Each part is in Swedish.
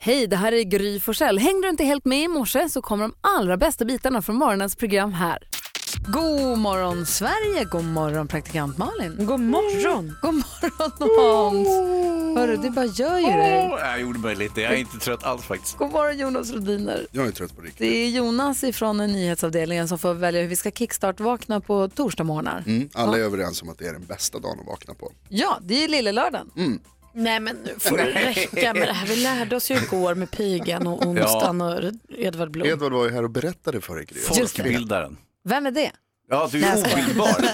Hej, det här är Gry Forssell. Hängde du inte helt med i morse så kommer de allra bästa bitarna från morgonens program här. God morgon Sverige, god morgon praktikant Malin. God morgon! God morgon Hans. Hörru, du bara gör ju det. Åh, jag gjorde mig lite. Jag är inte trött alls faktiskt. God morgon Jonas Rhodiner. Jag är trött på riktigt. Det är Jonas ifrån nyhetsavdelningen som får välja hur vi ska kickstart-vakna på torsdagmorgnar. Mm, alla är överens om att det är den bästa dagen att vakna på. Ja, det är ju lillelördagen. Nej men nu får det räcka med det här. Vi lärde oss ju igår med pigan och onsdagen och Edvard Blom. Edvard var ju här och berättade för dig, Gry. Folkbildaren. Vem är det? Ja, du är obildbar.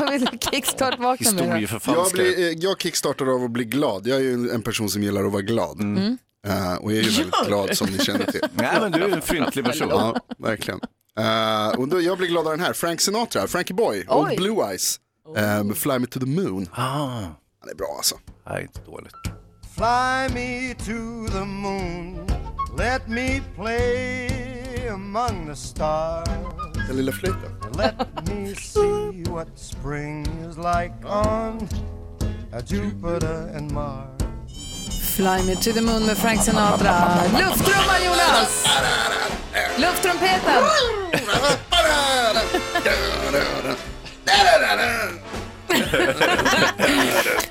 Vad vill du kickstart-vakna med? då? Jag, Historieförfalskare. blir, eh, jag kickstartar av att bli glad. Jag är ju en- en person som gillar att vara glad. Eh, och jag är ju väldigt glad som ni känner till. Nej, men du är en fryntlig person. Ja, verkligen. Eh, och då, jag blir gladare än här. Frank Sinatra, Frankie Boy och Oj. Blue Eyes. eh, med Fly Me To The Moon. Ah, Han är bra alltså. nej, inte dåligt. Fly me to the moon. Let me play among the stars. Den lilla flöjten. Let me see what spring is like on uh, Jupiter and Mars. Fly me to the moon med Frank Sinatra. Lufttrumman Jonas! Lufttrumpeten!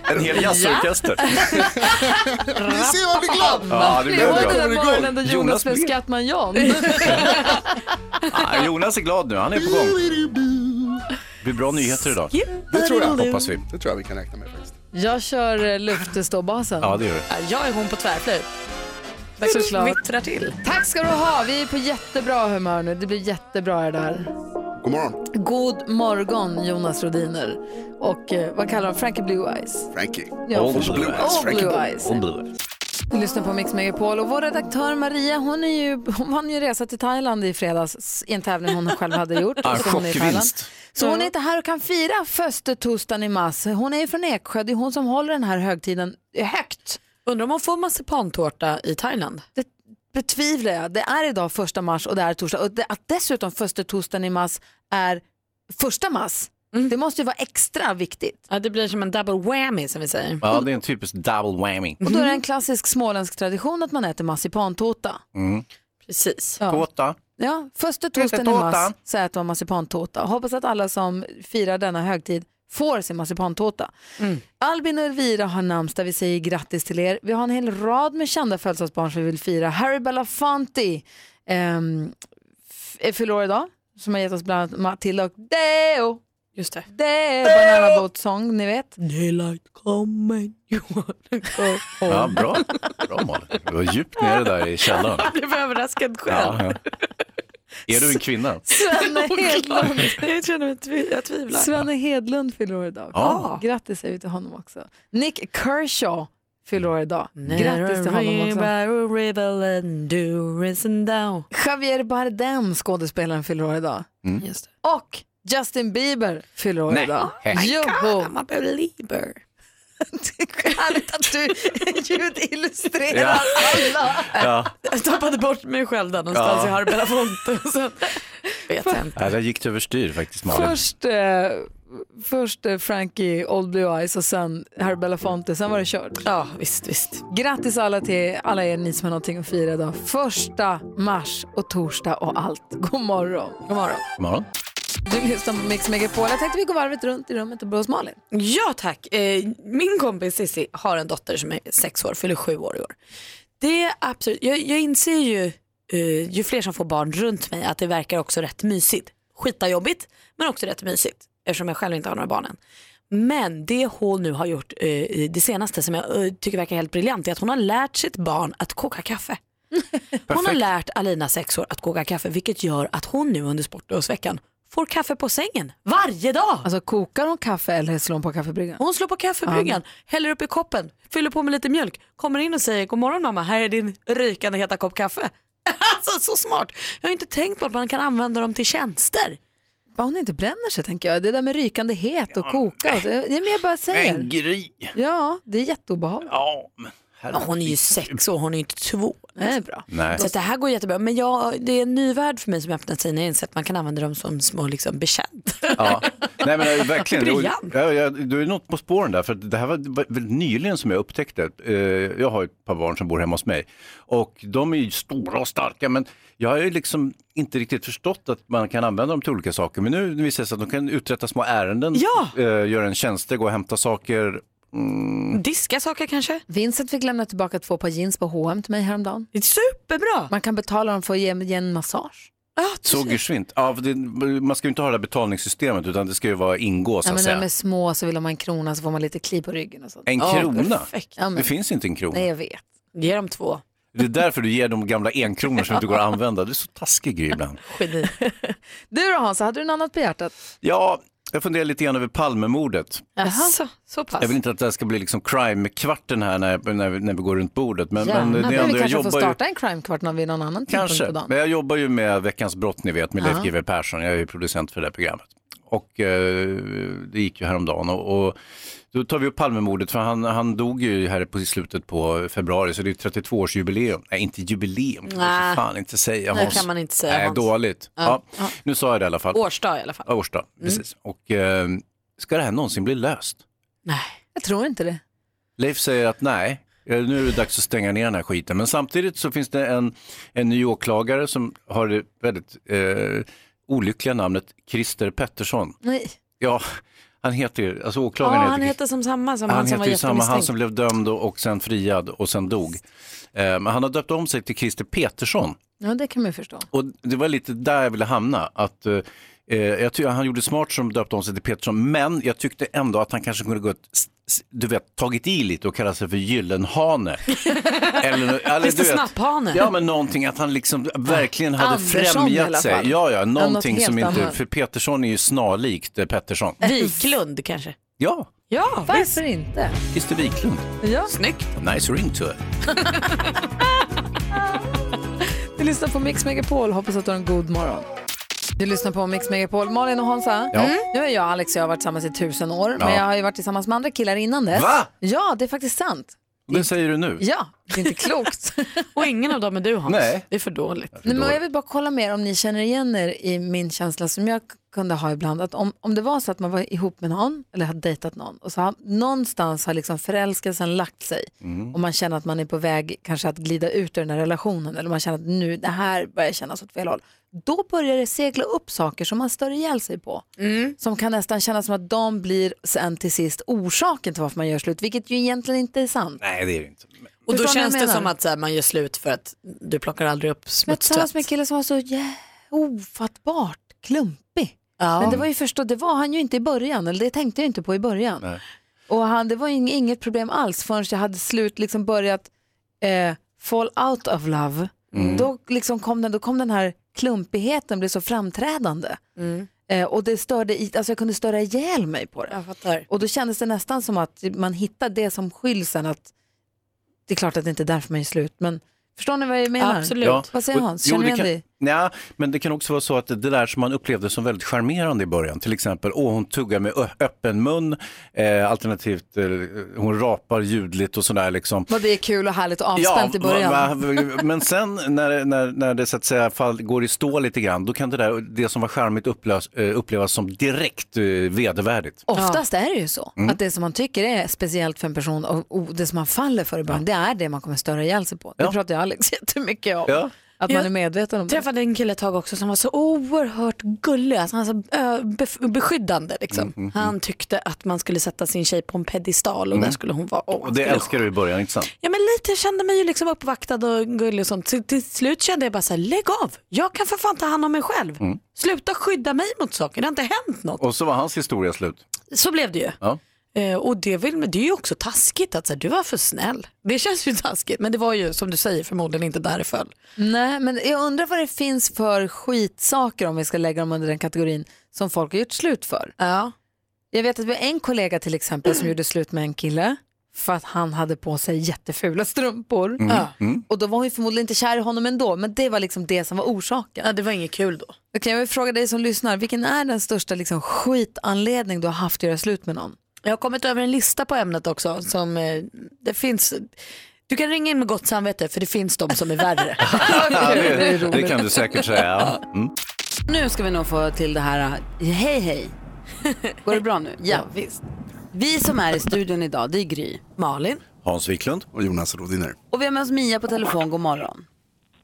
En hel jazzorkester. Ni ser vad jag blir glad! Ja, det Det blir var bra. den där morgonen då Jonas Jonas blev blev- Skattman-Jan. Ah, Jonas är glad nu. Han är på gång. Det blir bra nyheter idag. Det tror jag. Hoppas vi. Det tror jag vi kan räkna med faktiskt. Jag kör eh, luftståbasen. Ja, det gör det. Ja, Jag är hon på tvärflöjt. Såklart. Vittrar till. Tack ska du ha. Vi är på jättebra humör nu. Det blir jättebra det här. God morgon, God morgon Jonas Rodiner. Och eh, vad kallar de Frankie Blue Eyes? Frankie. Ja, Old förstås. Blue Eyes. Old Frankie Blue Blue Eyes. Hon blir det. Du lyssnar på Mix Megapol och vår redaktör Maria hon, är ju, hon vann ju resa till Thailand i fredags i en tävling hon själv hade gjort. Ja, en Så hon är i Thailand. chockvinst. Så hon är inte här och kan fira föstetostan i mass. Hon är ju från Eksjö, det är hon som håller den här högtiden högt. Undrar om hon får marsipantårta i Thailand. Det betvivlar jag. Det är idag första mars och det är torsdag. Och det, att dessutom föstetostan i mass är första mass, det måste ju vara extra viktigt. Ja, det blir som en double whammy som vi säger. Ja, det är en typisk double whammy. Och då är det en klassisk småländsk tradition att man äter marsipantårta. Precis. Tårta. Ja, första tosten i Tårta. mars så äter man marsipantårta. Och Hoppas att alla som firar denna högtid får sin marsipantårta. Albin och Elvira har namnsdag. Vi säger grattis till er. Vi har en hel rad med kända födelsedagsbarn som vi vill fira. Harry Belafonte ehm, f- är fyller år idag. Som har gett oss bland annat Matilda och Deo. Just det. Deo! Banana Boat Song, ni vet. Daylight coming, you wanna go home. Ja, bra. Bra Malin. Du var djupt nere där i källaren. Jag blev överraskad själv. Ja, ja. Är du en kvinna? Svenne Hedlund. Jag känner mig tvi- jag tvivlar. Svenne Hedlund fyller år idag. Ja. Grattis säger vi till honom också. Nick Kershaw fyller år idag. Grattis till honom också. Narrow river and do is and down. Javier Bardem, skådespelaren, fyller år idag. Just det. Och Justin Bieber fyller år Mm. Nej. Oh idag. Hej. Joho! I'm a believer. Härligt att du ljudillustrerar Ja. alla. Ja. Jag tappade bort mig själv där någonstans Ja. i Harry Belafonte. och Sen vet jag inte. Nej, där gick det överstyr faktiskt Malin. Först, eh, först eh, Frankie Old Blue Eyes och sen Harry Belafonte, sen var det kört. Ja, visst, visst. Grattis alla till alla er ni som har någonting att fira idag. Första mars och torsdag och allt. God morgon. God morgon. God morgon. Du lyssnar på Mix Megapol. Jag tänkte vi går varvet runt i rummet och börjar hos Malin. Ja tack. Eh, min kompis Cissi har en dotter som är sex år, fyller sju år i år. Det är absolut, jag, jag inser ju, eh, ju fler som får barn runt mig, att det verkar också rätt mysigt. Skita jobbigt, men också rätt mysigt, eftersom jag själv inte har några barn än. Men det hon nu har gjort eh, i det senaste som jag eh, tycker verkar helt briljant är att hon har lärt sitt barn att koka kaffe. Hon har Perfekt. lärt Alina sex år att koka kaffe vilket gör att hon nu under sportlovsveckan får kaffe på sängen varje dag. Alltså kokar hon kaffe eller slår hon på kaffebryggan? Hon slår på kaffebryggan, häller upp i koppen, fyller på med lite mjölk, kommer in och säger god morgon mamma, här är din rykande heta kopp kaffe. alltså så smart! Jag har inte tänkt på att man kan använda dem till tjänster. Bara hon inte bränner sig tänker jag. Det där med rykande het och koka. och så- Det är mer bara säger. Gry. Ja, det är jätteobehagligt. Ja, men Men hon är ju sex år, hon är ju inte två. Det är bra. Nej. Mm. Så att det här går jättebra. Men jag, det är en ny värld för mig som öppnat sig när jag inser att man kan använda dem som små liksom, bekänt. Ja. Nej men eh, verkligen. Briljant. Och, ja, ja, du är något på spåren där, för att det här var var väl nyligen som jag upptäckte. Eh, Jag har ju ett par barn som bor hemma hos mig och de är ju stora och starka men jag har ju liksom inte riktigt förstått att man kan använda dem till olika saker. Men nu visar det sig att de kan uträtta små ärenden, Ja. eh, göra en tjänste, gå och hämta saker. Diska saker kanske? Vincent fick lämna tillbaka två par jeans på H&M till mig häromdagen. Det är superbra. Man kan betala dem för att ge, ge en massage. Ja, Så geschwint. Ja, för det, man ska ju inte ha det här betalningssystemet utan det ska ju vara ingå så Ja, att men när de är säga. små så vill de ha en krona så får man lite kli på ryggen och sånt. En krona? perfekt. Ja, men, Det finns inte en krona. nej, jag vet. Ge dem två. Det är därför du ger dem gamla enkronor som inte går att använda. Du är så taskig Gry, ibland. Geni. Du då Hans, hade du något annat på hjärtat? Ja, jag funderar lite grann över Palmemordet. Alltså, så pass. Jag vill inte att det här ska bli liksom crime-kvarten här när, när, vi- när vi går runt bordet. Men, men det Gärna. är men ändå, jag vi kanske får jobbar ju, starta en crimekvart någon vid någon annan tidpunkt på kanske, dagen. men jag jobbar ju med Veckans brott ni vet med Leif GW Persson. Jag är ju producent för det här programmet. Och eh, det gick ju häromdagen och, och då tar vi upp Palmemordet för han, han dog ju här på i slutet på februari så det är 32-årsjubileum. Nej, inte jubileum, kan Nej. man för fan inte säga. Det Hans. kan man inte säga. Nej, Hans. dåligt. Ja. Nu sa jag det i alla fall. Årsdag i alla fall. Ja, Årsta, precis. Och eh, ska det här någonsin bli löst? Nej. Jag tror inte det. Leif säger att nej, eh, nu är det dags att stänga ner den här skiten. Men samtidigt så finns det en, en ny åklagare som har det väldigt eh, olyckliga namnet Christer Pettersson. Nej. Ja, han heter ju, alltså Ja, åklagaren han heter, heter som samma som han, han som var heter ju samma, han jättemisstänkt. som blev dömd och, och sen friad och sen dog. Eh, Men han har döpt om sig till Christer Petersson. Ja, det kan man ju förstå. Och det var lite där jag ville hamna. Att, eh, eh, jag tycker han gjorde smart som döpte om sig till Petersson, men jag tyckte ändå att han kanske kunde gått, s- s- du vet, tagit i lite och kallat sig för Gyllenhane. eller, eller Christer du vet, Snapphane. Ja, men någonting att han liksom verkligen hade Andersson i alla främjat sig. fall. Ja, ja, någonting helt som inte, annat. för Petersson är ju snarlikt eh, Pettersson. Wiklund kanske? Ja, Ja, Varför inte? Christer Wiklund. Ja. Snyggt. Nice ring to it. Du lyssnar på Mix Megapol, hoppas att du har en god morgon. Du lyssnar på Mix Megapol, Malin och Hansa. Ja. Nu är jag och Alex och jag har varit tillsammans i tusen år, Ja. men jag har ju varit tillsammans med andra killar innan dess. Va? Ja, det är faktiskt sant. Det säger du nu. Ja, det är inte klokt. Och ingen av dem är du Hans. Nej. Det är för dåligt. Nej, men jag vill bara kolla mer om ni känner igen er i min känsla som jag kunde ha ibland. Att om, om det var så att man var ihop med någon eller hade dejtat någon och så har, någonstans har liksom förälskelsen lagt sig och man känner att man är på väg kanske att glida ut ur den här relationen eller man känner att nu det här börjar kännas åt fel håll. Då börjar det segla upp saker som man stör ihjäl sig på. Som kan nästan kännas som att de blir sen till sist orsaken till varför man gör slut, vilket ju egentligen inte är sant. Nej, det är det inte. Och då Förstår ni vad känns jag det menar? som att så här, man gör slut för att du plockar aldrig upp Jag var tillsammans smutstvätt. med en kille som var så jä- ofattbart klumpig. Ja. Men det var ju förstå, det var han ju inte i början, eller det tänkte jag inte på i början. Nej. Och han, det var ju ing- inget problem alls förrän jag hade slut liksom börjat eh, fall out of love. Mm. Då, liksom kom den, då kom den här klumpigheten blev så framträdande. Eh, och det störde, i- alltså jag kunde störa ihjäl mig på det. Mm. Jag fattar. Och då kändes det nästan som att man hittar det som skylsen att det är klart att det inte är därför man är slut, men förstår ni vad jag menar? Absolut. Vad säger och- Hans? Känner du det igen kan- dig? Nja, men det kan också vara så att det där som man upplevde som väldigt charmerande i början, till exempel, åh hon tuggar med ö- öppen mun, eh, alternativt eh, hon rapar ljudligt och sådär liksom. Vad det är kul och härligt och avspänt i början. va- va- men sen när, när, när det så att säga fall, går i stå lite grann, då kan det där, det som var charmigt upplös, eh, upplevas som direkt eh, vedervärdigt. Oftast är det ju så Mm. att det som man tycker är speciellt för en person och, och det som man faller för i början, det är det man kommer störa ihjäl sig på. Det Ja. pratar ju Alex jättemycket om. Ja. Att man Jag är medveten om Jag träffade en kille ett tag också som var så oerhört gullig, alltså han var så ö, bef- beskyddande. Liksom. Mm, Han tyckte att man skulle sätta sin tjej på en pedestal och där skulle hon vara. Åh, Mm. Och det skulle- älskar du i början, inte sant? Ja men lite, jag kände mig ju liksom uppvaktad och gullig och sånt. Så till slut kände jag bara så här, lägg av, jag kan för fan ta hand om mig själv. Mm. Sluta skydda mig mot saker, det har inte hänt något. Och så var hans historia slut. Så blev det ju. Ja. Eh, och det, vill, men det är ju också taskigt att så här, du var för snäll. Det känns ju taskigt, men det var ju som du säger förmodligen inte där det föll. det. Nej, men jag undrar vad det finns för skitsaker om vi ska lägga dem under den kategorin som folk har gjort slut för. Ja. Jag vet att vi har en kollega till exempel som gjorde slut med en kille för att han hade på sig jättefula strumpor. Mm. Ja. Och då var hon ju förmodligen inte kär i honom ändå, men det var liksom det som var orsaken. ja, det var inget kul då. Okej, jag vill fråga dig som lyssnar, vilken är den största liksom, skitanledning du har haft att göra slut med någon? Jag har kommit över en lista på ämnet också. Som, eh, det finns Du kan ringa in med gott samvete för det finns de som är värre. Ja, det, det kan du säkert säga. Mm. Nu ska vi nog få till det här, eh, hej hej. Går det bra nu? Ja, visst. Vi som är i studion idag, det är Gry. Malin, Hans Wiklund. Och Jonas Rodiner. Och vi har med oss Mia på telefon, god morgon.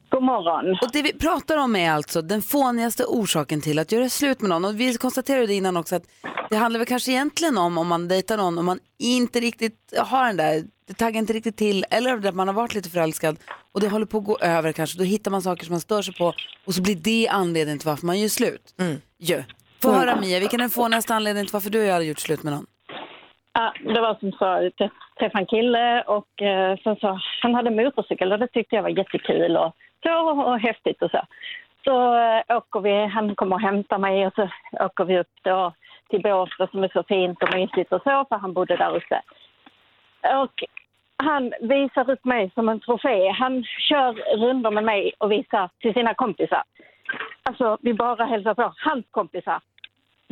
God morgon. Och det vi pratar om är alltså den fånigaste orsaken till att göra slut med någon. Och vi konstaterade det innan också att det handlar väl kanske egentligen om om man dejtar någon och man inte riktigt har den där, det taggar inte riktigt till eller att man har varit lite förälskad och det håller på att gå över kanske. Då hittar man saker som man stör sig på och så blir det anledningen till varför man gör slut. Mm. Ju. Få höra Mia, vilken är den fånigaste anledningen till varför du och jag har gjort slut med någon? Ja, det var som så, jag träff- träffade en kille och eh, sen så, han hade motorcykel och det tyckte jag var jättekul och så och häftigt och så. Så eh, åker vi, han kommer och hämtar mig och så åker vi upp då till Båstad som är så fint och mysigt och så, för han bodde där uppe. Och han visar upp mig som en trofé. Han kör runder med mig och visar till sina kompisar. Alltså, vi bara hälsar på hans kompisar.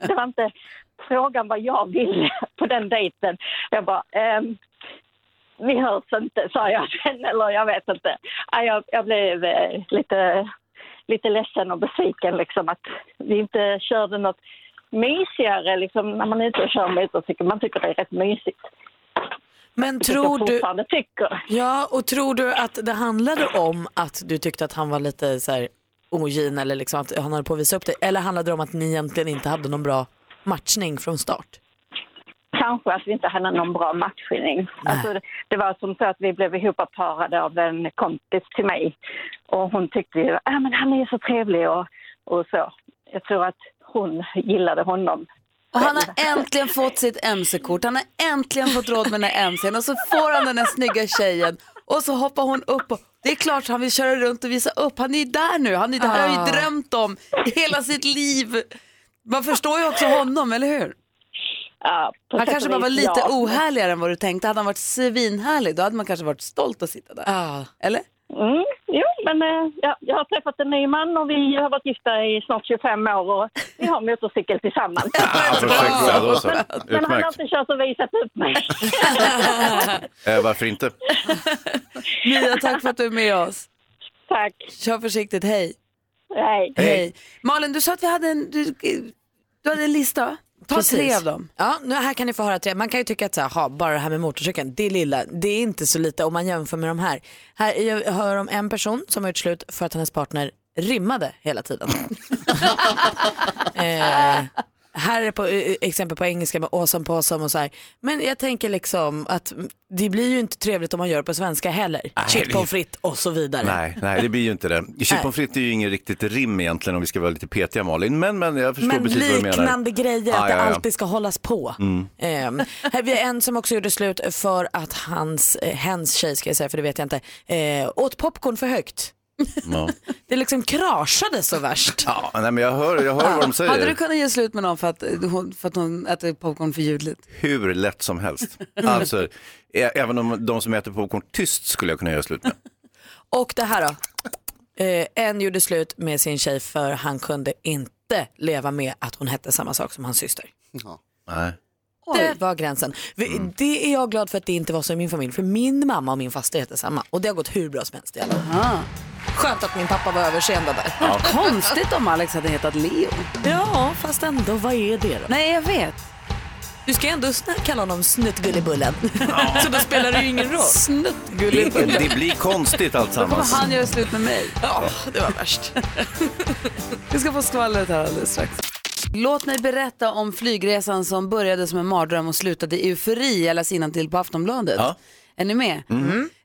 det var inte frågan vad jag ville på den dejten. Jag bara, ehm, vi hörs inte, sa jag sen, eller jag vet inte. Ja, Jag, jag blev eh, lite, lite ledsen och besviken liksom att vi inte körde något mysigare liksom, när man är ute och kör motorcykel. Man tycker det är rätt mysigt. men vilket jag tror du, fortfarande tycker. ja, och tror du att det handlade om att du tyckte att han var lite så här ogin eller liksom att han hade på att visa upp dig? Eller handlade det om att ni egentligen inte hade någon bra matchning från start? Kanske att vi inte hade någon bra matchning. Alltså, det- det var som så att vi blev ihopparade av en kompis till mig. Och hon tyckte ju, ah, men han är ju så trevlig och, och så. Jag tror att hon gillade honom. Och han har äntligen fått sitt MC-kort, han har äntligen fått råd med den här MCn och så får han den där snygga tjejen och så hoppar hon upp och det är klart han vill köra runt och visa upp, han är ju där nu, han är, det här har han ju drömt om hela sitt liv. Man förstår ju också honom, eller hur? Ja, på Han sätt kanske och bara var vis, lite ja. ohärligare än vad du tänkte, hade han varit svinhärlig då hade man kanske varit stolt att sitta där. Ah. Eller? Mm, jo, men eh, ja, jag har träffat en ny man och vi har varit gifta i snart 25 år och vi har motorcykel tillsammans. Ja, perfekt. Ja, då så. Men han har Utmärkt. inte kört och visat upp mig. Eh, varför inte? Mia, tack för att du är med oss. Tack. Kör försiktigt, hej. Hej. Hej. Malin, du sa att vi hade en, du, du hade en lista, ta Precis. tre av dem. Ja, nu här kan ni få höra tre. Man kan ju tycka att så här, ha, bara det här med motorcykeln, det är lilla. Det är inte så lite om man jämför med de här. Här jag hör om en person som har gjort slut för att hennes partner rimmade hela tiden. eh, här är på, eh, exempel på engelska med awesome på awesome och så här. Men jag tänker liksom att mm, det blir ju inte trevligt om man gör det på svenska heller. Chip det- pommes frites och så vidare. Nej, nej, det blir ju inte det. Chip pommes frites är ju ingen riktigt rim egentligen om vi ska vara lite petiga Malin, men, men jag förstår Men precis vad du menar. liknande grejer, Ah, att det ja, Mm. ja. alltid ska hållas på. Ehm, här vi har en som också gjorde slut för att hans, eh, hens tjej ska jag säga för det vet jag inte, eh, åt popcorn för högt. Ja. Det liksom kraschade så värst. Ja, nej, men jag hör, jag hör vad de säger. Hade Typ. du kunnat ge slut med någon för att, eh, hon, för att hon äter popcorn för ljudligt? Hur lätt som helst. Alltså, ä- även om de som äter popcorn tyst skulle jag kunna göra slut med. Och det här då. Eh, en gjorde slut med sin tjej för han kunde inte leva med att hon hette samma sak som hans syster. Ja. Nej. Det var gränsen. Vi- Mm. Det är jag glad för att det inte var så i min familj, för min mamma och min faster heter samma och det har gått hur bra som helst i alla år. Skönt att min pappa var överseende där. Konstigt om Alex hade hetat Leo. Ja, fast ändå, vad är det då? Nej, jag vet. Du ska ändå snä- kalla honom Snuttgullibullen. Så då spelar det ju ingen roll. Snuttgulligt. Det, det blir konstigt Kommer alltsammans. han göra slut med mig? Ja, det var värst. Vi ska få skvallret här alldeles strax. Låt mig berätta om flygresan som började som en mardröm och slutade i eufori. Jag läser till på Aftonbladet. Ja. Är ni med?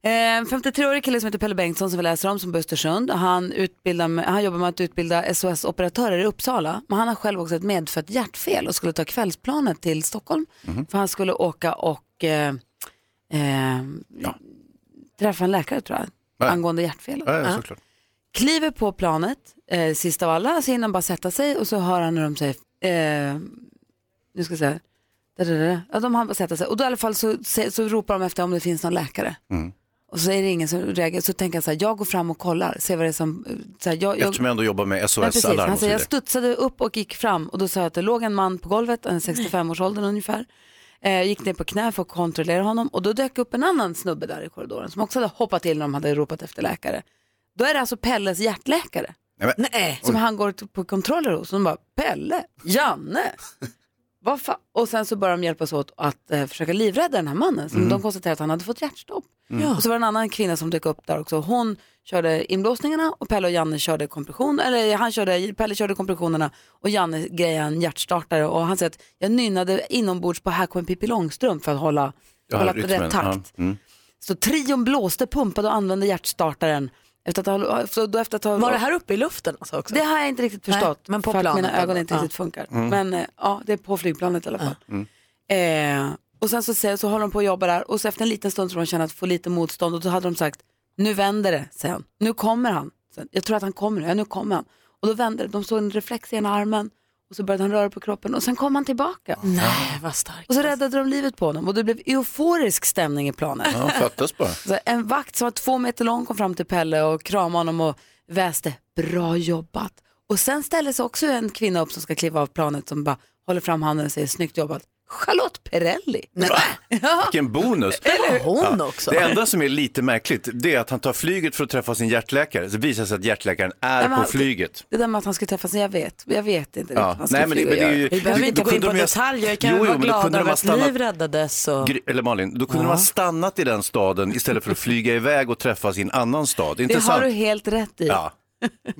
En 53-årig kille som heter Pelle Bengtsson som vi läser om som bor i Östersund. Han, utbildar med, han jobbar med att utbilda SOS-operatörer i Uppsala. Men han har själv också ett medfött hjärtfel och skulle ta kvällsplanet till Stockholm. För han skulle åka och eh, eh, träffa en läkare tror jag. Ja. Angående hjärtfelet Ja, ja, såklart. kliver på planet eh, sist av alla, så hinner han bara sätta sig och så hör han när de säger, eh, nu ska jag säga, da, da, da. Ja, de hann bara sätta sig och då i alla fall så, så, så ropar de efter om det finns någon läkare. Och så är det ingen som reagerar, så tänker han så här, jag går fram och kollar, ser vad det är som, eh, så här, jag, jag, Eftersom jag ändå jobbar med Nej, precis. SOS Alarm Han och så säger, jag vidare. studsade upp och gick fram och då sa jag att det låg en man på golvet, en 65-årsåldern ungefär. Eh, gick ner på knä för att kontrollera honom och då dök upp en annan snubbe där i korridoren som också hade hoppat till när de hade ropat efter läkare. Då är det alltså Pelles hjärtläkare Nej, men, Nej. som han går på kontroller hos. Och de bara, Pelle, Janne, vad fan? Och sen så börjar de hjälpas åt att eh, försöka livrädda den här mannen som Mm. de konstaterade att han hade fått hjärtstopp. Och så var det en annan kvinna som dök upp där också. Hon körde inblåsningarna och Pelle och Janne körde kompression, eller han körde, Pelle körde kompressionerna och Janne grejade en hjärtstartare och han säger att jag nynnade inombords på Här kommer Pippi Långstrump för att hålla, ja, hålla rytmen, rätt takt. Ja, mm. Så trion blåste, pumpade och använde hjärtstartaren. Efter att ha, så då efter att ha, Var det här uppe i luften alltså också? det har jag inte riktigt förstått. Nej, men på för att planet mina ögon ändå. inte Ja. Mm. riktigt funkar. Men eh, ja, det är på flygplanet i alla fall. Eh, och sen så, säger- så håller de på att jobba där och så efter en liten stund så de känner att få lite motstånd och då hade de sagt nu vänder det sen. Nu kommer han. Sen, jag tror att han kommer nu. Ja, nu kommer han. Och då vände det. De såg en reflex i ena armen och så började han röra på kroppen och sen kom han tillbaka. Nej, vad starkt. Och så räddade de livet på honom och det blev euforisk stämning i planet. ja, fattas bara. Så en vakt som var två meter lång kom fram till Pelle och kramade honom och väste bra jobbat. Och sen ställer sig också en kvinna upp som ska kliva av planet som bara håller fram handen och säger snyggt jobbat. Charlotte Perrelli. Vilken bonus. Eller hon också. Det enda som är lite märkligt det är att han tar flyget för att träffa sin hjärtläkare. Så visar det sig att hjärtläkaren är Nej, men på han- flyget. Det där med att han skulle träffas, alltså, jag vet. Jag vet inte riktigt Ja. vad han ska Nej, men det, men det är ju, göra. Vi behöver då- inte då gå in kunde på de ju- detaljer. Kan Jo, vi jo, vara men då kunde glada de över ha att liv stannat räddades? Och... Gry- Eller Malin, då kunde de ha stannat i den staden istället för att flyga iväg och träffas i en annan stad. Det har Intressant. du helt rätt i. Ja,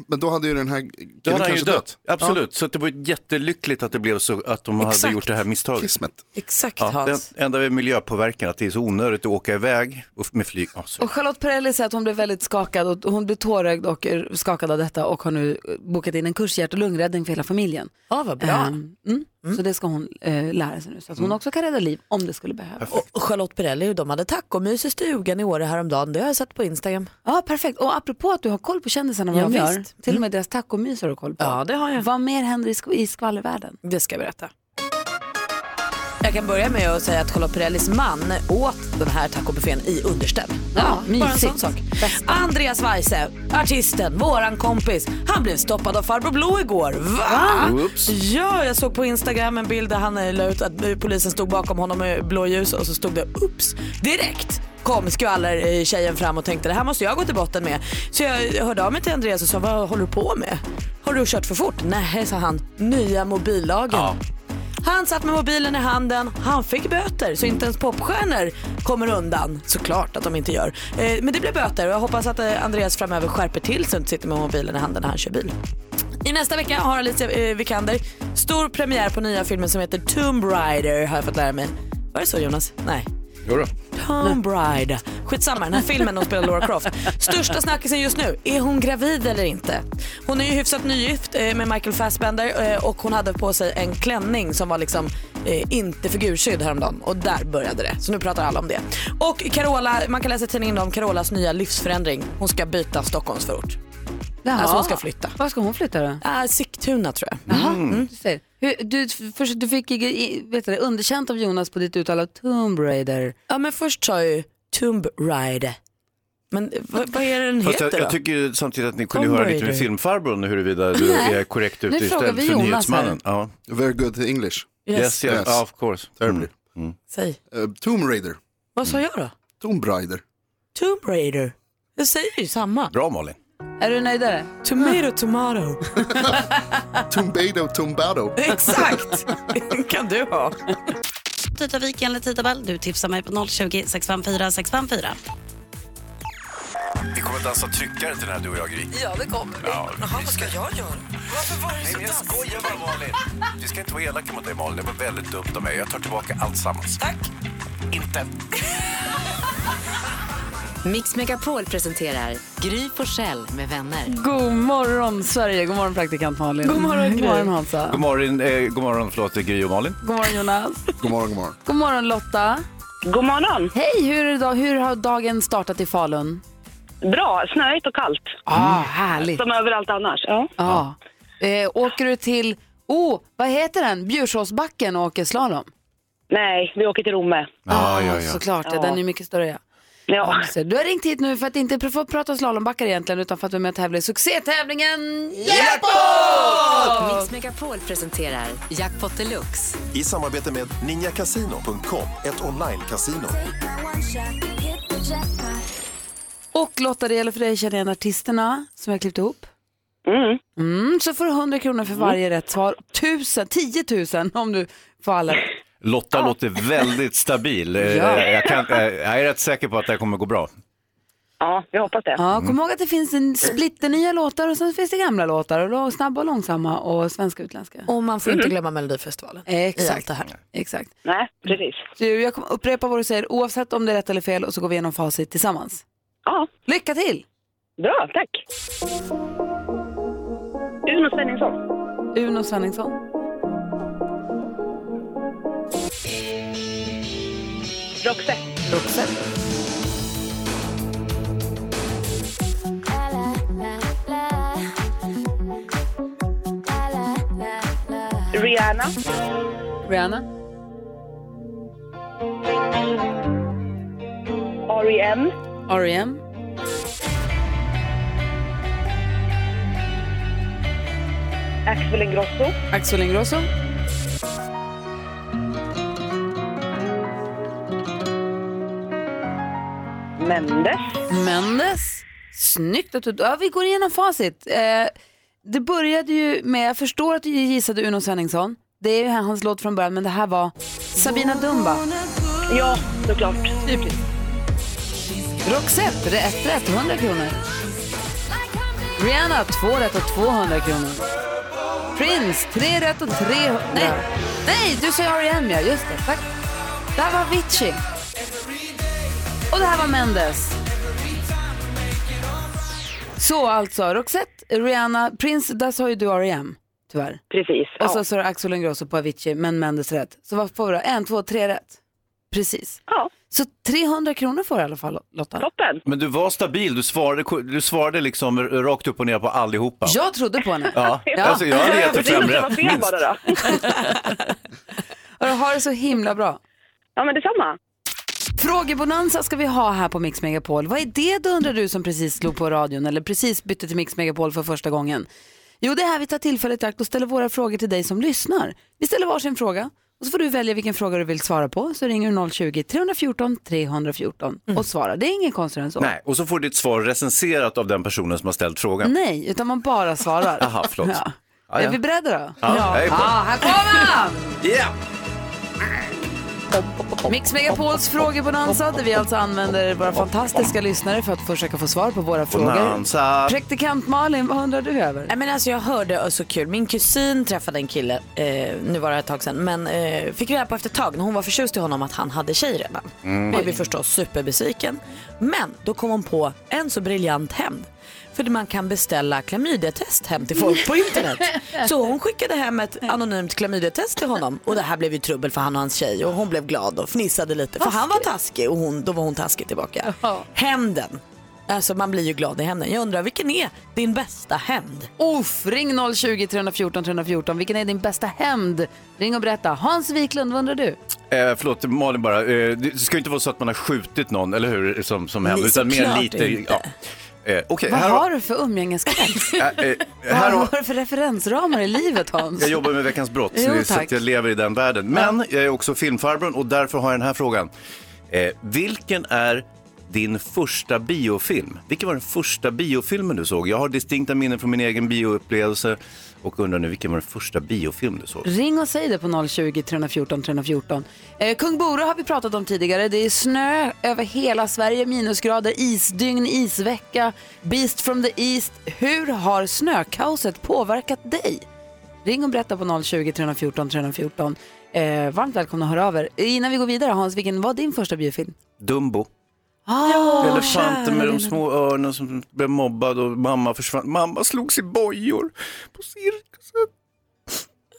Men då hade ju den här killen då hade han ju kanske dött. Absolut, så att det var ju jättelyckligt att det blev så att de hade Exakt. gjort det här misstaget. Kismet. Exakt Ja, den Hans. enda med miljöpåverkan att det är så onödigt att åka iväg och f- med flyg. Ja, så- Och Charlotte Perrelli säger att hon blev väldigt skakad och hon blev tårögd och eh, skakad av detta och har nu eh, bokat in en kurs i hjärt och lungräddning för hela familjen. Ja, vad bra. Ehm, mm. Så det ska hon eh, lära sig nu så att hon Mm. också kan rädda liv om det skulle behövas. Och Charlotte Perrelli och de hade tacomys i stugan i Åre häromdagen. Det har jag sett på Instagram. Ja, perfekt. Och apropå att du har koll på kändisarna, vad Ja, de gör. visst. Till och med deras tacomys Mm. har du koll på. Ja, det har jag. Vad mer händer i, sk- i skvallervärlden? Det ska jag berätta. Jag kan börja med att säga att Charlotte Perrellis man åt den här tacobuffén i underställ. Ja, Bara en sån mysigt. sak. Andreas Weise, artisten, våran kompis, han blev stoppad av farbror Blå igår. Va? Ah! Oops. Ja, jag såg på Instagram en bild där han eh, la ut att eh, polisen stod bakom honom med blåljus och så stod det ups direkt kom skvallertjejen fram och tänkte det här måste jag gå till botten med. Så jag hörde av mig till Andreas och sa vad håller du på med? Har du kört för fort? Nej, sa han. Nya mobillagen. Han satt med mobilen i handen, han fick böter så inte ens popstjärnor kommer undan. Såklart att de inte gör. Eh, Men det blev böter och jag hoppas att eh, Andreas framöver skärper till så han inte sitter med mobilen i handen när han kör bil. I nästa vecka har Alicia eh, Vikander stor premiär på nya filmen som heter Tomb Raider har jag fått lära mig. Var det så Jonas? Nej. Jodå. Tomb Raider. Skitsamma, den här filmen hon spelar Laura Croft. Största snackisen just nu, är hon gravid eller inte? Hon är ju hyfsat nygift eh, med Michael Fassbender eh, och hon hade på sig en klänning som var liksom eh, inte figurskydd häromdagen och där började det. Så nu pratar alla om det. Och Carola, man kan läsa i tidningen om Carolas nya livsförändring. Hon ska byta Stockholmsförort. Jaha. Alltså hon ska flytta. Var ska hon flytta då? Äh, Sigtuna tror jag. Jaha, du ser. Hur, du, först, du fick i- i- vet du, det, underkänt av Jonas på ditt uttal av Tomb Raider. Ja men först sa jag ju Tomb Raider. Men eh, vad, vad är det den Fast heter jag, jag då? tycker samtidigt att ni kunde Tomb höra lite med Raider. filmfarbrorn huruvida du Nej. är korrekt Nu ute frågar istället vi för Jonas nyhetsmannen. Ja. Very good English. Yes, yes, Yes. ja, of course. Mm. Terribly. Säg. Eh, Tomb Raider. Vad sa jag då? Tomb Raider. Tomb Raider. Jag säger ju samma. Bra Malin. Är du nöjdare? Tomato, tomato. Tombado, Tombado. Exakt. kan du ha. Tidavik enligt tidtabell. Du tipsar mig på 020 654 654. Vi kommer att dansa tryckare till den här du och jag Gry. Ja, det kommer vi. Ja, Jaha, vad ska jag göra? Varför var det så danskt? skojar bara Malin. Vi ska inte vara elaka mot dig Malin, det var väldigt dumt av mig. Jag tar tillbaka alltsammans. Tack. Inte. Mix Megapol presenterar Gry Forssell med vänner. God morgon Sverige, god morgon praktikant Malin. God morgon, god morgon Hansa. God morgon, eh, god morgon förlåt, Gry och Malin. God morgon Jonas. God morgon, god morgon. god morgon Lotta. God morgon! Hej, hur, är det då, hur har dagen startat i Falun? Bra, snöigt och kallt. Ah, härligt. Som överallt annars. Ja. Ja. Eh, åker du till, oh, vad heter den, Bjursåsbacken och åker slalom? Nej, vi åker till Romme. Ja, ja, Såklart, ja. den är mycket större. Ja. Ja. Så Du har ringt hit nu för att inte få prata slalombackar egentligen utan för att du är med och tävlar i succétävlingen Mix Megapol presenterar Jackpot Deluxe. I samarbete med ninjakasino.com, ett online-casino. Och Lotta, det gäller för dig att känna igen artisterna som jag har klippt ihop. Mm, så får du 100 kronor för varje rätt svar. 1000, 10 000 om du får alla rätt. Lotta låter väldigt stabil. Eh, Ja. Jag, kan, eh, jag är rätt säker på att det här kommer gå bra. Ja, vi hoppas det. Ja, kom ihåg att det finns en splitter nya låtar och sen finns det gamla låtar. Och då snabba och långsamma och svenska och utländska. Och man får inte glömma Melodifestivalen. Exakt. I allt det här. Exakt. Nej, precis. Du, jag kommer upprepa vad du säger oavsett om det är rätt eller fel och så går vi igenom facit tillsammans. Ja, Lycka till! bra, tack. Uno Svenningsson. Uno Svenningsson. Roxette. Roxette. Rihanna. Rihanna. R.E.M. R.E.M. Axel Ingrosso. Axel Ingrosso. Mendes. Mendes. Snyggt att du... Ja, vi går igenom facit. Eh, det började ju med, jag förstår att du gissade Uno Svenningsson. Det är ju hans låt från början, men det här var Sabina Dumba. Ja, såklart. Roxette, det är ett rätt, 100 kronor. Rihanna, två rätt och 200 kronor. Prince, tre rätt och 300... Nej, nej du sa R.E.M. ja, just det. Tack. Det här var Avicii. Och det här var Mendes. Så alltså, Roxette, Rihanna, Prince, där sa ju du R.E.M. tyvärr. Precis. Och så sa du Axel Ingrosso på Avicii, men Mendes rätt. Så vad får du då? En, två, tre rätt. Precis. Ja, Så 300 kronor får du i alla fall, Lotta. toppen. Men du var stabil, du svarade, du svarade liksom rakt upp och ner på allihopa. Jag trodde på henne. Ja, Alltså, jag hade gett dig fem rätt, minst. då. Och har det så himla bra. Ja, men detsamma. Frågebonanza ska vi ha här på Mix Megapol. Vad är det då undrar du som precis slog på radion eller precis bytte till Mix Megapol för första gången? Jo, det är här vi tar tillfället i akt och ställer våra frågor till dig som lyssnar. Vi ställer varsin fråga och så får du välja vilken fråga du vill svara på. Så ringer du 020-314 314 och svarar. Det är ingen konstigare än så. Mm. Nej, och så får du ditt svar recenserat av den personen som har ställt frågan. Nej, utan man bara svarar. Aha, förlåt. Ja. Ja, ja. Är vi beredda då? Ja, jag är på. Ah, här kommer han! Mm. Yeah! Mix Megapols frågebonanza där vi alltså använder våra fantastiska lyssnare för att försöka få svar på våra frågor. Bonanza. Praktikant Malin, vad undrar du över? Nej, men alltså jag hörde och så kul. Min kusin träffade en kille, eh, nu var det ett tag sedan, men eh, fick reda på efter ett tag när hon var förtjust i honom att han hade tjej redan. Blev ju förstås superbesviken. Men då kom hon på en så briljant hämnd. För man kan beställa klamydiatest hem till folk på internet. Så hon skickade hem ett anonymt klamydiatest till honom. Och det här blev ju trubbel för han och hans tjej. Och hon blev glad och fnissade lite. För han var taskig och hon, då var hon taskig tillbaka. Hämnden. Alltså man blir ju glad i hämnden. Jag undrar vilken är din bästa hämnd? Uff, ring 020-314 314. Vilken är din bästa hämnd? Ring och berätta. Hans Wiklund, vad undrar du? Eh, förlåt, Malin bara. Eh, det ska ju inte vara så att man har skjutit någon, eller hur? Som, som händer, Nej, utan mer såklart lite... inte. Ja. Eh, Okej, Vad här, har du för umgängeskrets? eh, eh, Vad här har... har du för referensramar i livet, Hans? Jag jobbar med Veckans brott, Jo, så tack. att jag lever i den världen. Men jag är också filmfarbrorn och därför har jag den här frågan. Eh, vilken är din första biofilm? Vilken var den första biofilmen du såg? Jag har distinkta minnen från min egen bioupplevelse och undrar nu, vilken var den första biofilm du såg? Ring och säg det på 020-314 314. Eh, Kung Bore har vi pratat om tidigare. Det är snö över hela Sverige, minusgrader, isdygn, isvecka, Beast from the East. Hur har snökaoset påverkat dig? Ring och berätta på 020-314 314. Eh, varmt välkomna att höra av er. Innan vi går vidare, Hans, vilken var din första biofilm? Dumbo. Ah, Elefanten med de små örnen som blev mobbad och mamma försvann. Mamma slogs i bojor på cirkusen. Ja,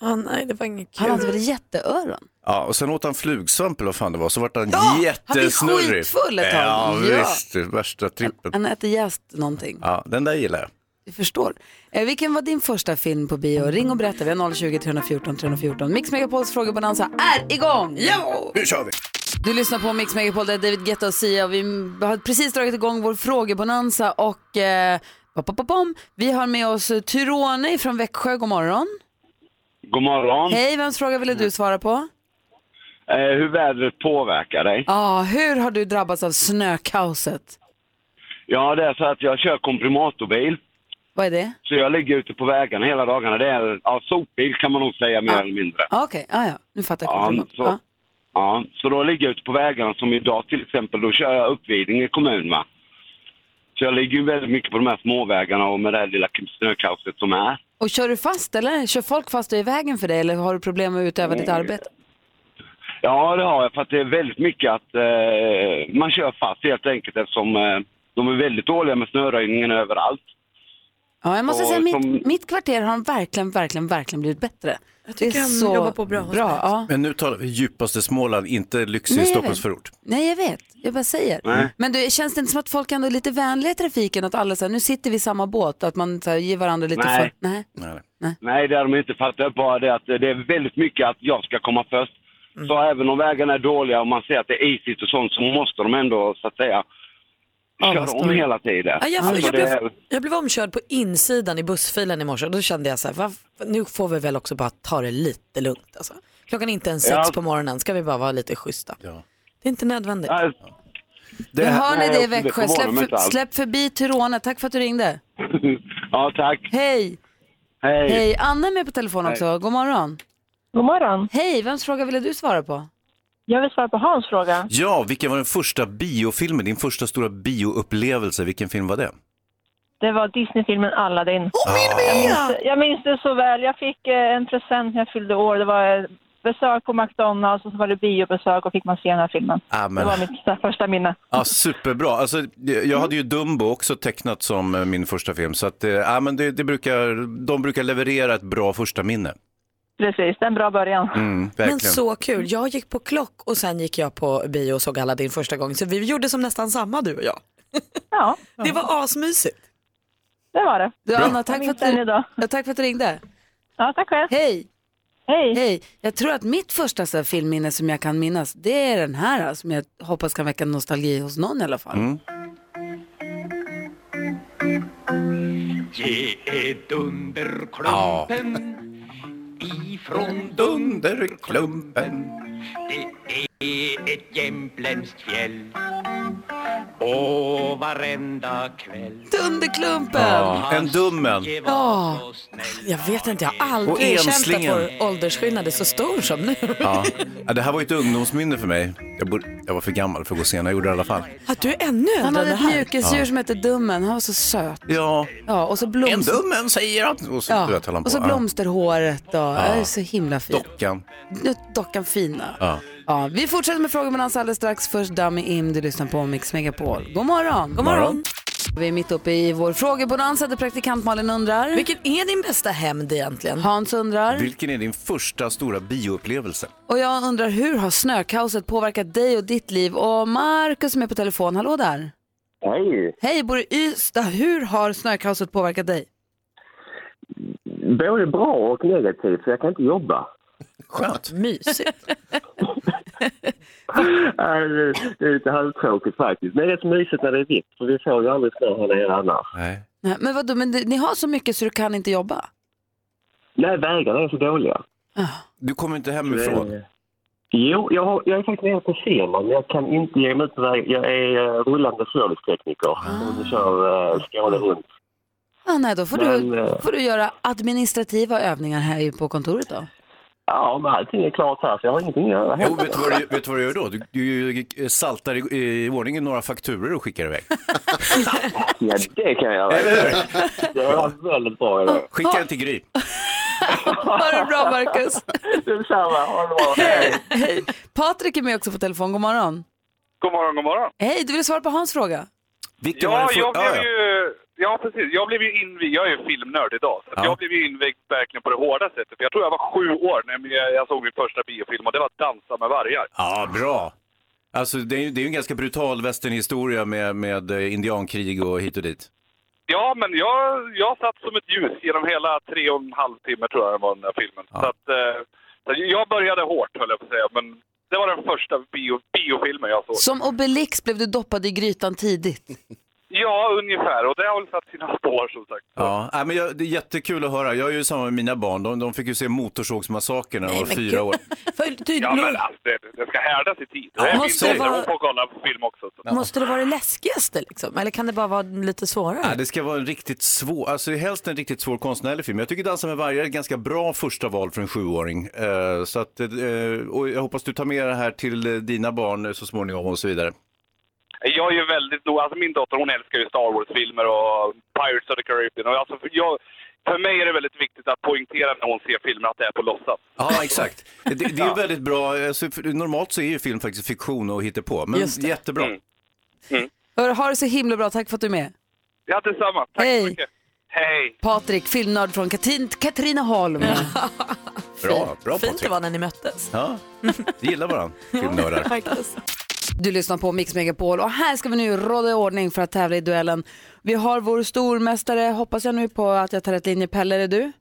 Ah, nej, det var inget han hade väl jätteöron? Ja, och sen åt han flugsvamp eller vad fan det var, så vart han Ja, han jättesnurrig. blev skitfull ett tag. Ja, Ja. visst. Värsta trippen. Han äter jäst någonting. Ja, den där gillar jag. Vi förstår. Eh, vilken var din första film på bio? Ring och berätta. Vi har 020-314 314. Mix Megapols frågebonanza är igång! Nu kör vi! Du lyssnar på Mix Megapol, det är David Guetta och Sia. Vi har precis dragit igång vår frågebonanza och eh, pop, pop, pop, pom. vi har med oss Tyrone från Växjö. God morgon. God morgon. Hej, vems fråga ville du svara på? Eh, hur vädret påverkar dig? Ah, hur har du drabbats av snökaoset? Ja, det är så att jag kör komprimatorbil. Vad är det? Så jag ligger ute på vägarna hela dagarna. Det är ja, sopbil kan man nog säga mer eller mindre. Ah, Okej, ah, ja. nu fattar jag. Ja, så, ja. så då ligger jag ute på vägarna som idag till exempel. Då kör jag upp Vidinge kommun va. Så jag ligger ju väldigt mycket på de här småvägarna och med det här lilla snökaoset som är. Och kör du fast eller? Kör folk fast och är i vägen för dig eller har du problem med att utöva ditt arbete? Mm. Ja, det har jag. För att det är väldigt mycket att eh, man kör fast helt enkelt eftersom eh, de är väldigt dåliga med snöröjningen överallt. Ja, jag måste Och säga mitt, som- mitt kvarter har de verkligen, verkligen, verkligen blivit bättre. Jag tycker de jobbar på bra hos bra ja. Men nu talar vi djupaste Småland, inte lyxig Nej, jag Stockholmsförort. Nej, jag vet. Jag bara säger. Nej. Men du, känns det inte som att folk ändå är lite vänliga i trafiken? Att alla så här, nu sitter vi i samma båt, att man så här, ger varandra lite Nej. för... Nej. Nej. det är de inte. För att det är bara det att det är väldigt mycket att jag ska komma först. Mm. Så även om vägarna är dåliga och man ser att det är isigt och sånt så måste de ändå så att säga Ja, vad köra om står det? hela tiden. Ja, Ah, jag, Alltså, jag, det blev, är- jag blev omkörd på insidan i bussfilen i morse och då kände jag så här, "Va, nu får vi väl också bara ta det lite lugnt. Alltså. Klockan är inte ens sex Ja. på morgonen, ska vi bara vara lite schyssta. Det är inte nödvändigt. Nu hör ni det i Växjö. förvånar Släpp, mig inte för, alls. släpp förbi Tyrone. Tack för att du ringde. ja, tack. Hej. Hej. Hej. Anna är med på telefon Hej. också. God morgon. God morgon. Hej, vems fråga ville du svara på? Jag vill svara på Hans fråga. Ja, vilken var den första biofilmen, din första stora bioupplevelse, vilken film var det? Det var Disney-filmen Aladdin. Oh, min jag, minns, jag minns det så väl. Jag fick eh, en present när jag fyllde år. Det var eh, besök på McDonalds och så var det biobesök och fick man se den här filmen. Ah, men- Det var mitt så här första minne. Ja, superbra. Alltså, jag hade ju Dumbo också tecknat som eh, min första film, så att, eh, ja, men det, det brukar, de brukar leverera ett bra första minne. Precis, det är en bra början. Mm, verkligen. Men så kul. Jag gick på klock och sen gick jag på bio och såg Aladdin första gången. Så vi gjorde som nästan samma du och jag. Ja. Det var asmysigt. Det var det. Du, Bra. Anna, tack för, att Jag minns du, den idag. ja, tack för att du ringde. Ja, tack själv. Hej. Hej. Hej. Jag tror att mitt första så här, filmminne som jag kan minnas, det är den här alltså, som jag hoppas kan väcka nostalgi hos någon i alla fall. Ge är dunderklumpen ifrån dunderklumpen Det är ett jämtländskt fjäll och varenda kväll Dunderklumpen! Ja, en dummen. Ja. Jag vet inte, jag har Och aldrig känt att enslingen. vår åldersskillnad är så stor som nu. Ja. Ja, det här var ju ett ungdomsminne för mig. Jag, bor- jag var för gammal för att gå och se, när jag gjorde det i alla fall. Att du är ännu äldre Han hade än ett det här. mjukisdjur Ja. som hette Dummen, han var så söt. Ja, Ja, och så blomster... En dummen säger att... Och så, ja. jag talar på. och så blomsterhåret och det är så himla fint. Ja. Dockan. Nu dockan fina. Ja. Ja, vi fortsätter med frågor med alldeles strax. Först Dummy Im, du lyssnar på Mix Megapol. God morgon! God morgon. Vi är mitt uppe i vår frågebonanza där praktikant Malin undrar. Vilken är din bästa hämnd egentligen? Hans undrar. Vilken är din första stora bioupplevelse? Och jag undrar hur har snökaoset påverkat dig och ditt liv? Och Markus som är på telefon, hallå där. Hej! Hej, bor i Ystad. Hur har snökaoset påverkat dig? Både bra och negativt, för jag kan inte jobba. Skönt. Mm. Mysigt. Nej, det det är lite halvtråkigt faktiskt. Men det är rätt mysigt när det är vitt, för vi får ju aldrig snö här nere annars. Nej, Nej, Men vadå, men det- ni har så mycket så du kan inte jobba? Nej vägarna är så dåliga. Du kommer inte hemifrån? Jo, jag, har, jag är faktiskt nere på Zeeland, men jag kan inte ge mig ut på vägen. Jag är eh, rullande servicetekniker och kör eh, Skåne runt. Ah, nej, då får, Men, du, eh, får du göra administrativa övningar här ju på kontoret då. Ja, men allting är klart här, så jag har ingenting att göra. Jo, vet du vad du, vet du, vad du gör då? Du, du eh, saltar i, i ordningen några fakturer och skickar iväg. Ja, det kan jag göra. Det var väldigt bra. idé. Skicka den till Gry. Ha det bra Marcus! Detsamma, ha det bra. Hej! Hej. Patrik är med också på telefon, god morgon. God morgon, god morgon. Hej, du ville svara på hans fråga? Ja, Vilken var det jag för- Ah, blev ja, ja. ju... Ja, precis. Jag blev ju invigd. Jag är ju filmnörd idag. Så att Ja. Jag blev ju invigd verkligen på det hårda sättet. För jag tror jag var sju år när jag- jag såg min första biofilm och det var Dansa med vargar. Ja, bra. Alltså, det är ju det är ju en ganska brutal västernhistoria med, med eh, indiankrig och hit och dit. Ja, men jag, jag satt som ett ljus genom hela tre och en halv timme tror jag det var den där filmen. Så att, eh, så jag började hårt höll jag på att säga, men Det var den första bio, biofilmen jag såg. Som Obelix blev du doppad i grytan tidigt. Ja, ungefär. Och det har väl satt sina spår som sagt. Ja, nej, men jag, det är jättekul att höra. Jag är ju samma med mina barn. De, de fick ju se Motorsågsmassakern när de var fyra år. Ja, men alltså, det, det ska härdas i tid. Ja, det är min måste det dotter, vara- hon får kolla på film också. Så. Måste det vara det läskigaste liksom? Eller kan det bara vara lite svårare? Nej, det ska vara en riktigt svår, alltså helst en riktigt svår konstnärlig film. Jag tycker Dansa med vargar är ett ganska bra första val för en sjuåring. Eh, så att, eh, och jag hoppas du tar med det här till eh, dina barn eh, så småningom och så vidare. Jag är ju väldigt nog, alltså min dotter hon älskar ju Star Wars-filmer och Pirates of the Caribbean. Och alltså, för, jag, för mig är det väldigt viktigt att poängtera när hon ser filmer att det är på låtsas. Ja, exakt. Det, det är ju väldigt bra, alltså, för- normalt så är ju film faktiskt fiktion och hittepå, men Just det. jättebra. Mm. Hör, ha det så himla bra, tack för att du är med. Ja, detsamma. Tack Hej. så mycket. Hej! Patrik, filmnörd från Katrin, Katrineholm. Bra, bra Fint det Patrik. var när ni möttes. Ja, vi gillar varandra, filmnördar. Faktiskt. Du lyssnar på Mix Megapol och här ska vi nu råda i ordning för att tävla i duellen. Vi har vår stormästare, hoppas jag nu på att jag tar rätt linje. Pelle, är det du?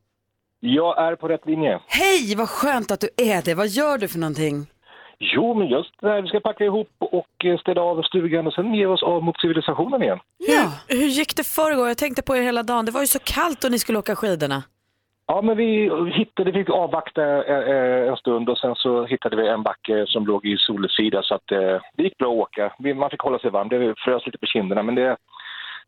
Jag är på rätt linje. Hej, vad skönt att du är det. Vad gör du för någonting? Jo, men just när vi ska packa ihop och eh, städa av stugan och sen ge oss av mot civilisationen igen. Ja. Hur, hur gick det förrgår? Jag tänkte på er hela dagen. Det var ju så kallt och ni skulle åka skidorna. Ja, men vi hittade, vi fick avvakta eh, eh, en stund och sen så hittade vi en backe som låg i solsida så att eh, det gick bra att åka. Vi- Man fick hålla sig varm. Det frös lite på kinderna, men det,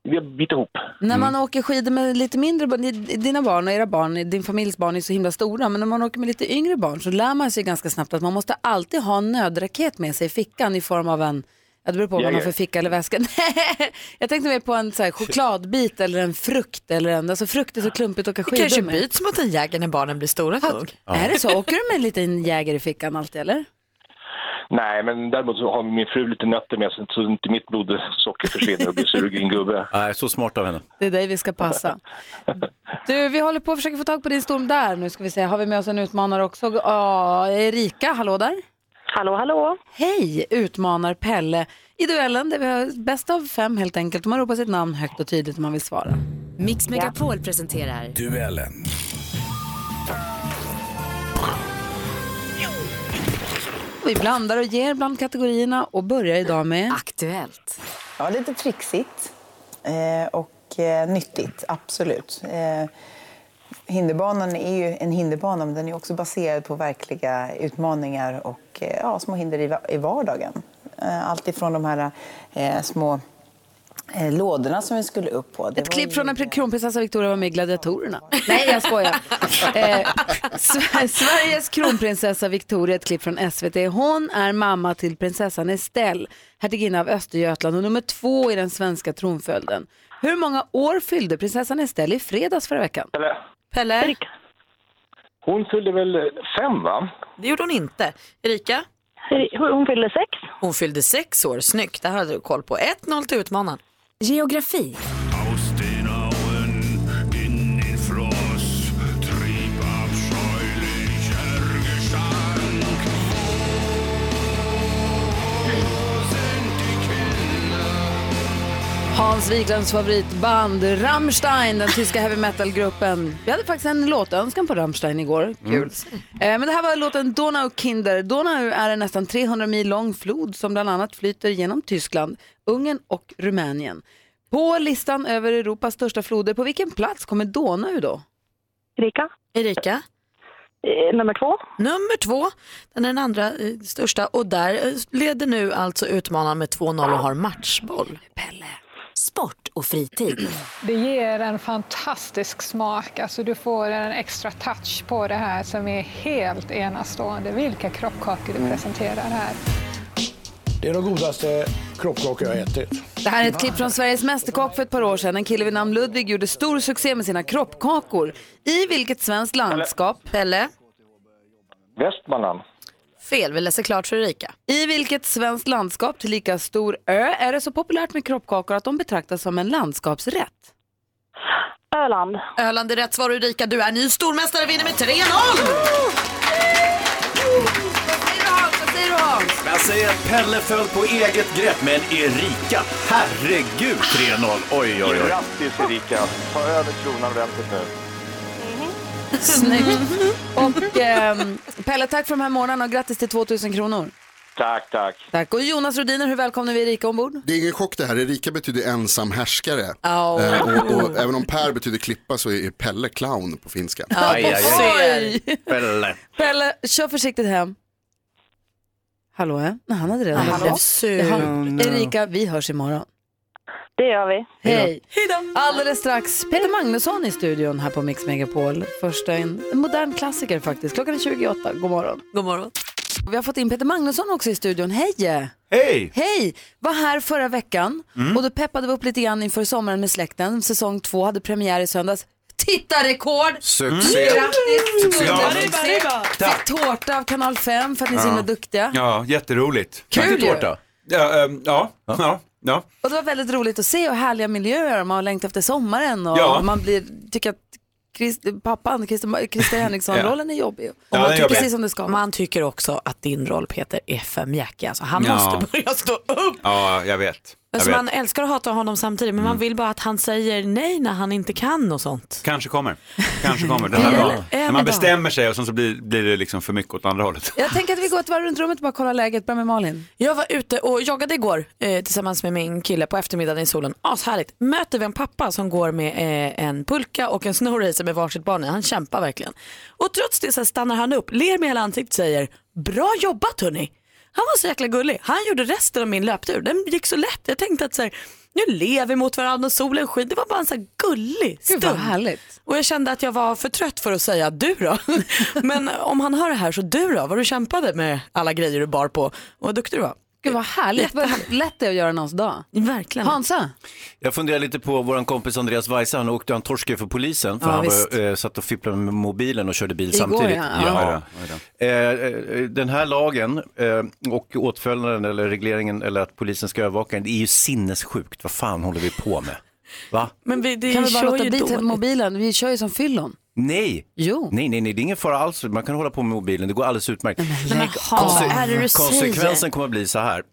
vi bit ihop. När man åker skidor med lite mindre barn, ni- dina barn och era barn, din familjs barn är så himla stora, men när man åker med lite yngre barn så lär man sig ganska snabbt att man måste alltid ha en nödraket med sig i fickan i form av en, ja, det beror på vad man har Jajamän. för ficka eller väska. Nej, jag tänkte mer på en så här, chokladbit eller en frukt eller en, alltså frukt är så klumpigt att åka skidor Det kanske med. byts mot en jägare när barnen blir stora nog. Är det så? Åker du med en liten jäger i fickan alltid eller? Nej, men däremot så har min fru lite nötter med sig så inte mitt blodsocker försvinner och blir sugen gubbe. Nej, så smart av henne. Det är dig vi ska passa. Du, vi håller på att försöka få tag på din storm där. Nu ska vi se, har vi med oss en utmanare också? Ja, Erika, hallå där. Hallå, hallå. Hej, utmanar Pelle i duellen där vi har bäst av fem helt enkelt. Man ropar sitt namn högt och tydligt om man vill svara. Mix Megapol presenterar Duellen. Vi blandar och ger bland kategorierna och börjar idag med... Ah, Aktuellt. Ja, lite trixigt eh, och eh, nyttigt, absolut. Eh, hinderbanan är ju en hinderbana, men den är också baserad på verkliga utmaningar och eh, ja, små hinder i, va- i vardagen. Eh, allt ifrån de här eh, små eh, lådorna som vi skulle upp på. Det Ett var klipp ju- från när kronprinsessa Victoria var med i Gladiatorerna. Nej, jag skojar. Eh, Sve- Sveriges kronprinsessa Victoria, ett klipp från SVT. Hon är mamma till prinsessan Estelle, hertiginna av Östergötland och nummer två i den svenska tronföljden. Hur många år fyllde prinsessan Estelle i fredags förra veckan? Pelle. Pelle? Hon fyllde väl fem, va? Det gjorde hon inte. Erika? Hon fyllde sex. Hon fyllde sex år, snyggt. Det här hade du koll på. 1-0 till utmanaren. Geografi. Hans Wiklunds favoritband Rammstein, den tyska heavy metal-gruppen. Vi hade faktiskt en låtönskan på Rammstein igår. Kul. Eh, Men det här var låten Donau Kinder. Donau är en nästan 300 mil lång flod som bland annat flyter genom Tyskland, Ungern och Rumänien. På listan över Europas största floder, på vilken plats kommer Donau då? Erika? Erika? Eh, nummer två. Nummer två. Den är den andra eh, största och där eh, leder nu alltså utmanaren med 2-0 och har matchboll. Pelle. Sport och fritid. Det ger en fantastisk smak. Alltså du får en extra touch på det här som är helt enastående. Vilka kroppkakor du presenterar här. Mm. Det är de godaste kroppkakor jag har ätit. Det här är ett klipp från Sveriges Mästerkock för ett par år sedan. En kille vid namn Ludvig gjorde stor succé med sina kroppkakor. I vilket svenskt landskap? Pelle? Västmanland. Fel, vi läser klart för Erika. I vilket svenskt landskap, till lika stor ö, är det så populärt med kroppkakor att de betraktas som en landskapsrätt? Öland. Öland är rätt svar Erika. Du är ny stormästare, vinner med 3-0! Jag säger att Pelle föll på eget grepp, men Erika, herregud 3-0. Oj, oj, oj. Grattis Erika! Ta över kronan ordentligt nu. Snyggt. Och ehm, Pelle, tack för de här morgnarna och grattis till 2000 kronor. Tack, tack. Tack. Och Jonas Rodiner, hur välkomnar vi Erika ombord? Det är ingen chock det här, Erika betyder ensam härskare. Au. Eh, och, och, även om Per betyder klippa så är Pelle clown på finska. Ja, Aj, aj, aj. oj. Pelle. Pelle, kör försiktigt hem. Hallå, ja. Nej, han hade redan Ah, hallå. Jaha. Erika, vi hörs imorgon. Det gör vi. Hej! Alldeles strax Peter Magnusson i studion här på Mix Megapol. Första en en modern klassiker faktiskt. Klockan är 28. God morgon. God morgon. Vi har fått in Peter Magnusson också i studion. Hej! Hej! Hej! Var här förra veckan Mm. och då peppade vi upp lite grann inför sommaren med släkten. Säsong två hade premiär i söndags. Tittarrekord! Succé. Grattis! Succé. Stor Ja. succé. Arriba, arriba. Fick tårta av Kanal 5 för att ni är så Ja. himla duktiga. Ja, jätteroligt. Kul Tack till ju. tårta. Ja, ehm, ja, ja, ja. Och det var väldigt roligt att se och härliga miljöer. Man har längtat efter sommaren och Ja. man blir, tycker att Chris, pappan, Christer, Christer Henriksson-rollen är jobbig. Och Ja, man den är tycker jobbig. precis som det ska. Man tycker också att din roll Peter är för mjäkig. Alltså, han Ja. måste börja stå upp. Ja, jag vet. Jag Alltså, vet. Mm. man älskar och hatar honom samtidigt men man vill bara att han säger nej när han inte kan och sånt. Kanske kommer. Kanske kommer. Den Eller här dagen. en När man dag. bestämmer sig och sen så blir, blir det liksom för mycket åt andra hållet. Jag tänker att vi går ett varv runt rummet och bara kollar läget. Börja med Malin. Jag var ute och joggade igår eh, tillsammans med min kille på eftermiddagen i solen. Ashärligt. Möter vi en pappa som går med eh, en pulka och en snowracer med varsitt barn i. Han kämpar verkligen. Och trots det så här stannar han upp, ler med hela ansiktet och säger bra jobbat hörni. Han var så jäkla gullig. Han gjorde resten av min löptur. Den gick så lätt. Jag tänkte att så här, nu lever vi mot varandra och solen skiner. Det var bara en så här gullig Gud, stund. vad härligt. Och jag kände att jag var för trött för att säga du då. Men om han hör det här så du då, vad du kämpade med alla grejer du bar på och vad duktig du var. Gud vad härligt. Mm. Vad lätt det är att göra någons dag. Verkligen. Hansa? Jag funderar lite på vår kompis Andreas Weise, han åkte han torskade för polisen för Ja, han visst. var, eh, satt och fipplade med mobilen och körde bil Igår, samtidigt. ja. Ja. Eh, eh, Den här lagen eh, och åtföljden eller regleringen eller att polisen ska övervaka en, det är ju sinnessjukt. Vad fan håller vi på med? Va? Men vi, det kan vi bara kör låta ju bli till dåligt. mobilen? Vi kör ju som fyllon. Nej. Jo. nej, nej, nej, det är ingen fara alls. Man kan hålla på med mobilen, det går alldeles utmärkt. lägg av. Konse- Vad Mm. är det du säger? konsekvensen kommer att bli så här.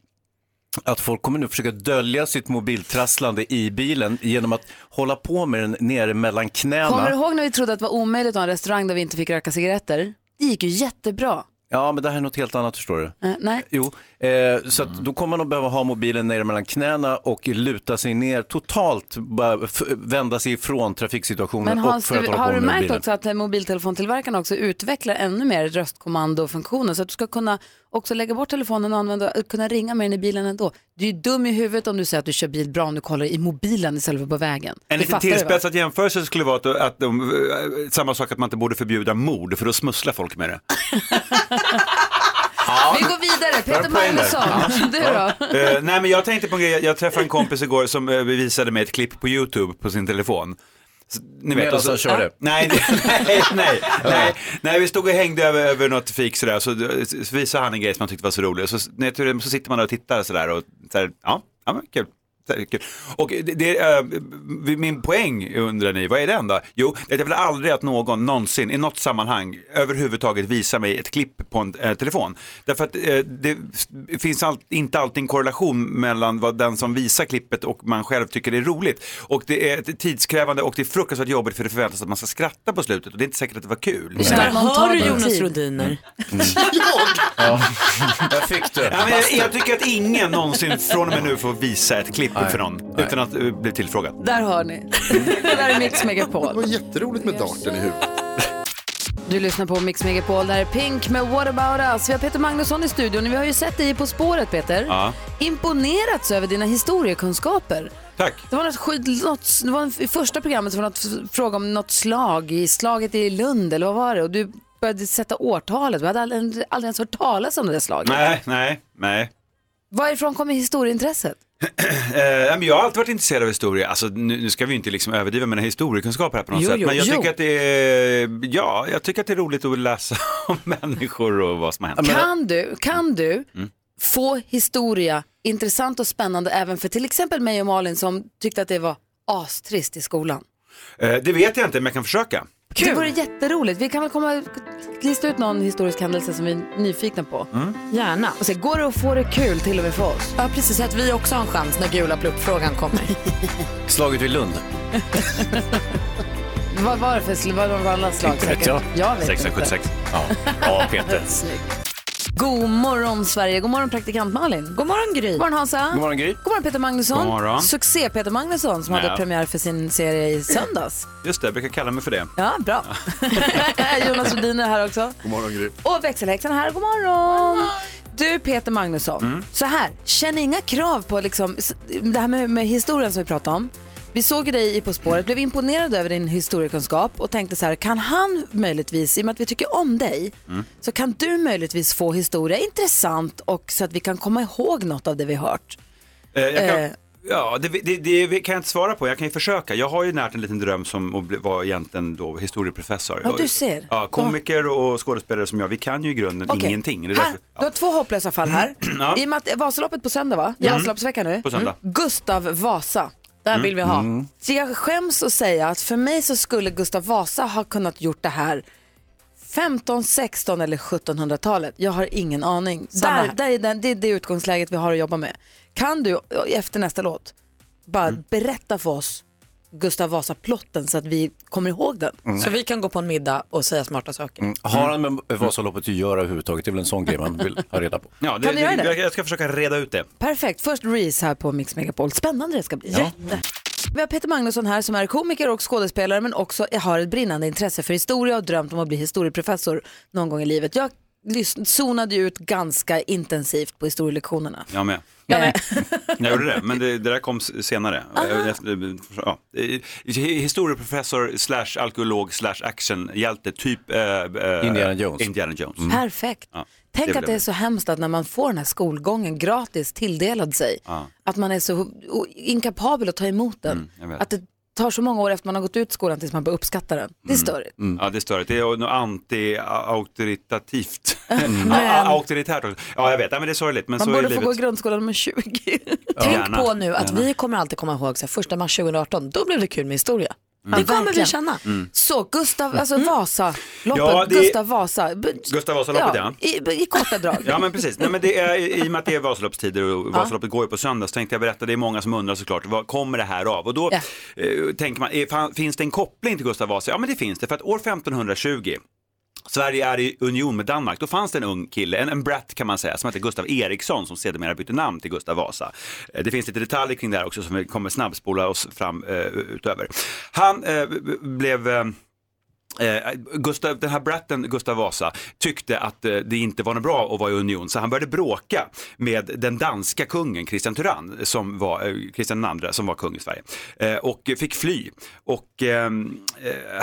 Att folk kommer nu försöka dölja sitt mobiltrasslande i bilen genom att hålla på med den nere mellan knäna. Kommer du ihåg när vi trodde att det var omöjligt att ha en restaurang där vi inte fick röka cigaretter? Det gick ju jättebra. Ja, men det här är något helt annat förstår du. Eh, nej. Jo, eh, så att då kommer man att behöva ha mobilen nere mellan knäna och luta sig ner totalt, bara f- vända sig ifrån trafiksituationen Men Hans, och för att du, hålla på har du med märkt mobilen. också att eh, mobiltelefontillverkarna också utvecklar ännu mer röstkommandofunktioner så att du ska kunna också lägga bort telefonen och använda, eh, kunna ringa med den i bilen ändå. Du är ju dum i huvudet om du säger att du kör bil bra om du kollar i mobilen istället för på vägen. En du liten fattar det, va? tillspetsad jämförelse skulle vara att, att de, eh, samma sak att man inte borde förbjuda mord för då smusslar folk med det. Ja. Vi går vidare, Bra Peter poäng där. Magnusson, du då? Eh, nej men jag tänkte på en grej, jag träffade en kompis igår som eh, visade mig ett klipp på YouTube på sin telefon. Så, ni Medan och så- han körde? Nej, nej, nej, nej, nej, vi stod och hängde över, över något fik sådär, så, så visade han en grej som han tyckte var så rolig, så, nej, tur- så sitter man där och tittar sådär och sådär, ja, ja men kul. Så här, kul. Och det, det, eh, min poäng undrar ni, vad är den då? Jo, att jag vill aldrig att någon någonsin i något sammanhang överhuvudtaget visar mig ett klipp på en eh, telefon. Därför att eh, det s- finns all, inte alltid en korrelation mellan vad den som visar klippet och man själv tycker det är roligt. Och det är tidskrävande och det är fruktansvärt jobbigt för det förväntas att man ska skratta på slutet och det är inte säkert att det var kul. Det känns att man tar Hör du din Jonas tid. Mm. Rodiner? Ja, där fick du. Ja, men jag, jag tycker att ingen någonsin från och med nu får visa ett klipp för någon utan att eh, bli tillfrågad. Där hör ni. Det där är Mix Megapol. Det var jätteroligt med darten i huvudet. Du lyssnar på Mix Megapol, det här är Pink med What about us. Vi har Peter Magnusson i studion. Vi har ju sett dig i På spåret, Peter. Ja. Imponerats över dina historiekunskaper. Tack. Det var, något, skyd- något, det var i första programmet som var något f- fråga om något slag, i slaget i Lund eller vad var det? Och du började sätta årtalet. Vi hade aldrig, aldrig ens hört talas om det där slaget. Nej, nej, nej. Varifrån kommer historieintresset? Eh, nej, men jag har alltid varit intresserad av historia. Alltså, nu, nu ska vi inte liksom överdriva mina historiekunskaper här på något Jo, sätt. jo, men jag jo. tycker att det är, ja, jag tycker att det är roligt att läsa om människor och vad som har hänt. Kan du, kan du Mm. få historia intressant och spännande även för till exempel mig och Malin som tyckte att det var astrist i skolan? Eh, det vet jag inte, men jag kan försöka. Det vore jätteroligt. Vi kan väl komma lista ut någon historisk händelse som vi är nyfikna på. Mm. Gärna. Och se, går det att få det kul till och med för oss? Ja precis, så att vi också har en chans när gula pluppfrågan kommer. Slaget vid Lund. Vad var det för slag? Vad var det för annat slag? Inte vet säkert? jag. jag vet inte. 676. Ja. ja, Peter. God morgon Sverige, god morgon praktikant Malin. God morgon Gry. God morgon Hansa. God morgon, Gry. God morgon Peter Magnusson. God morgon. Succé Peter Magnusson som Ja. hade premiär för sin serie i söndags. Just det, jag brukar kalla mig för det. Ja, bra. Jonas Rhodin är här också. God morgon Gry. Och växelhäxan här, god morgon. Du Peter Magnusson, Mm. så här, känn inga krav på liksom, s- det här med, med historien som vi pratade om. Vi såg ju dig i På spåret, blev imponerade över din historiekunskap och tänkte så här, kan han möjligtvis, i och med att vi tycker om dig, Mm. så kan du möjligtvis få historia intressant och så att vi kan komma ihåg något av det vi hört. Eh, jag kan, Eh. Ja, det, det, det kan jag inte svara på. Jag kan ju försöka. Jag har ju närt en liten dröm som att bli- vara egentligen då historieprofessor. Ja, du ser. Ja, komiker och skådespelare som jag, vi kan ju i grunden Okej. ingenting. Det är Här, därför, du har två hopplösa fall här. Ja. I och med att Vasaloppet på söndag va? Det är Ja. Vasaloppsvecka nu. Mm. På söndag. Gustav Vasa. Där Mm. vill vi ha. Mm. Så jag skäms att säga att för mig så skulle Gustav Vasa ha kunnat gjort det här 15, 16 eller 1700-talet. Jag har ingen aning. Samma Där, här. där är den, det är det utgångsläget vi har att jobba med. Kan du eh, efter nästa låt bara Mm. berätta för oss Gustav Vasa-plotten så att vi kommer ihåg den? Mm. Så vi kan gå på en middag och säga smarta saker. Har han med Vasaloppet att göra överhuvudtaget? Det är väl en sån grej man vill ha reda på. Ja, Kan du göra det? Jag, jag ska försöka reda ut det. Perfekt. Först Reese här på Mix Megapol. Spännande det ska bli. Jätte. Vi har Peter Magnusson här som är komiker och skådespelare men också har ett brinnande intresse för historia och drömt om att bli historieprofessor någon gång i livet. Jag lys- zonade ju ut ganska intensivt på historielektionerna. Jag med. Jag gjorde det, men det, det där kom s- senare. Efter, ja. Eh, Historieprofessor slash alkoholog slash actionhjälte, typ eh, eh, Indiana Jones. Indiana Jones. Mm. Perfekt. Ja, Tänk att blev det är så hemskt att när man får den här skolgången gratis tilldelad sig, Ja. Mm, att man är så o- inkapabel att ta emot den. jag vet. att det tar så många år efter man har gått ut skolan tills man börjar uppskatta den. Det är störigt. Mm. Ja, det är störigt. Det är något anti-auktoritativt. Men- A- Auktoritärt också. Ja, jag vet. Ja, men det är sorgligt, men Man så är borde få livet. gå i grundskolan med 20. Tänk Gärna. på nu att Gärna. vi kommer alltid komma ihåg så här, första mars 2018, då blev det kul med historia. Mm. Det kommer vi verkligen. känna. Mm. Så Gustav, alltså Vasa, loppet, Ja, det- Gustav Vasa. B- Gustav Vasaloppet, ja. I, I korta drag. Ja men precis, Nej, men det är, i och med att det är Vasaloppstider och Ja. Vasaloppet går ju på söndag så tänkte jag berätta, det är många som undrar såklart, vad kommer det här av? Och då eh, tänker man, är, fan, finns det en koppling till Gustav Vasa? Ja men det finns det, för att år 1520 Sverige är i union med Danmark. Då fanns det en ung kille, en, en brat kan man säga, som hette Gustav Eriksson som sedermera bytte namn till Gustav Vasa. Eh, Det finns lite detaljer kring det här också som vi kommer snabbspola oss fram eh, utöver. Han eh, b- b- blev eh, Eh, Gustav, den här bratten Gustav Vasa tyckte att eh, det inte var något bra att vara i union så han började bråka med den danska kungen Kristian Tyrann, som var, eh, Kristian II som var kung i Sverige eh, och fick fly och eh, eh,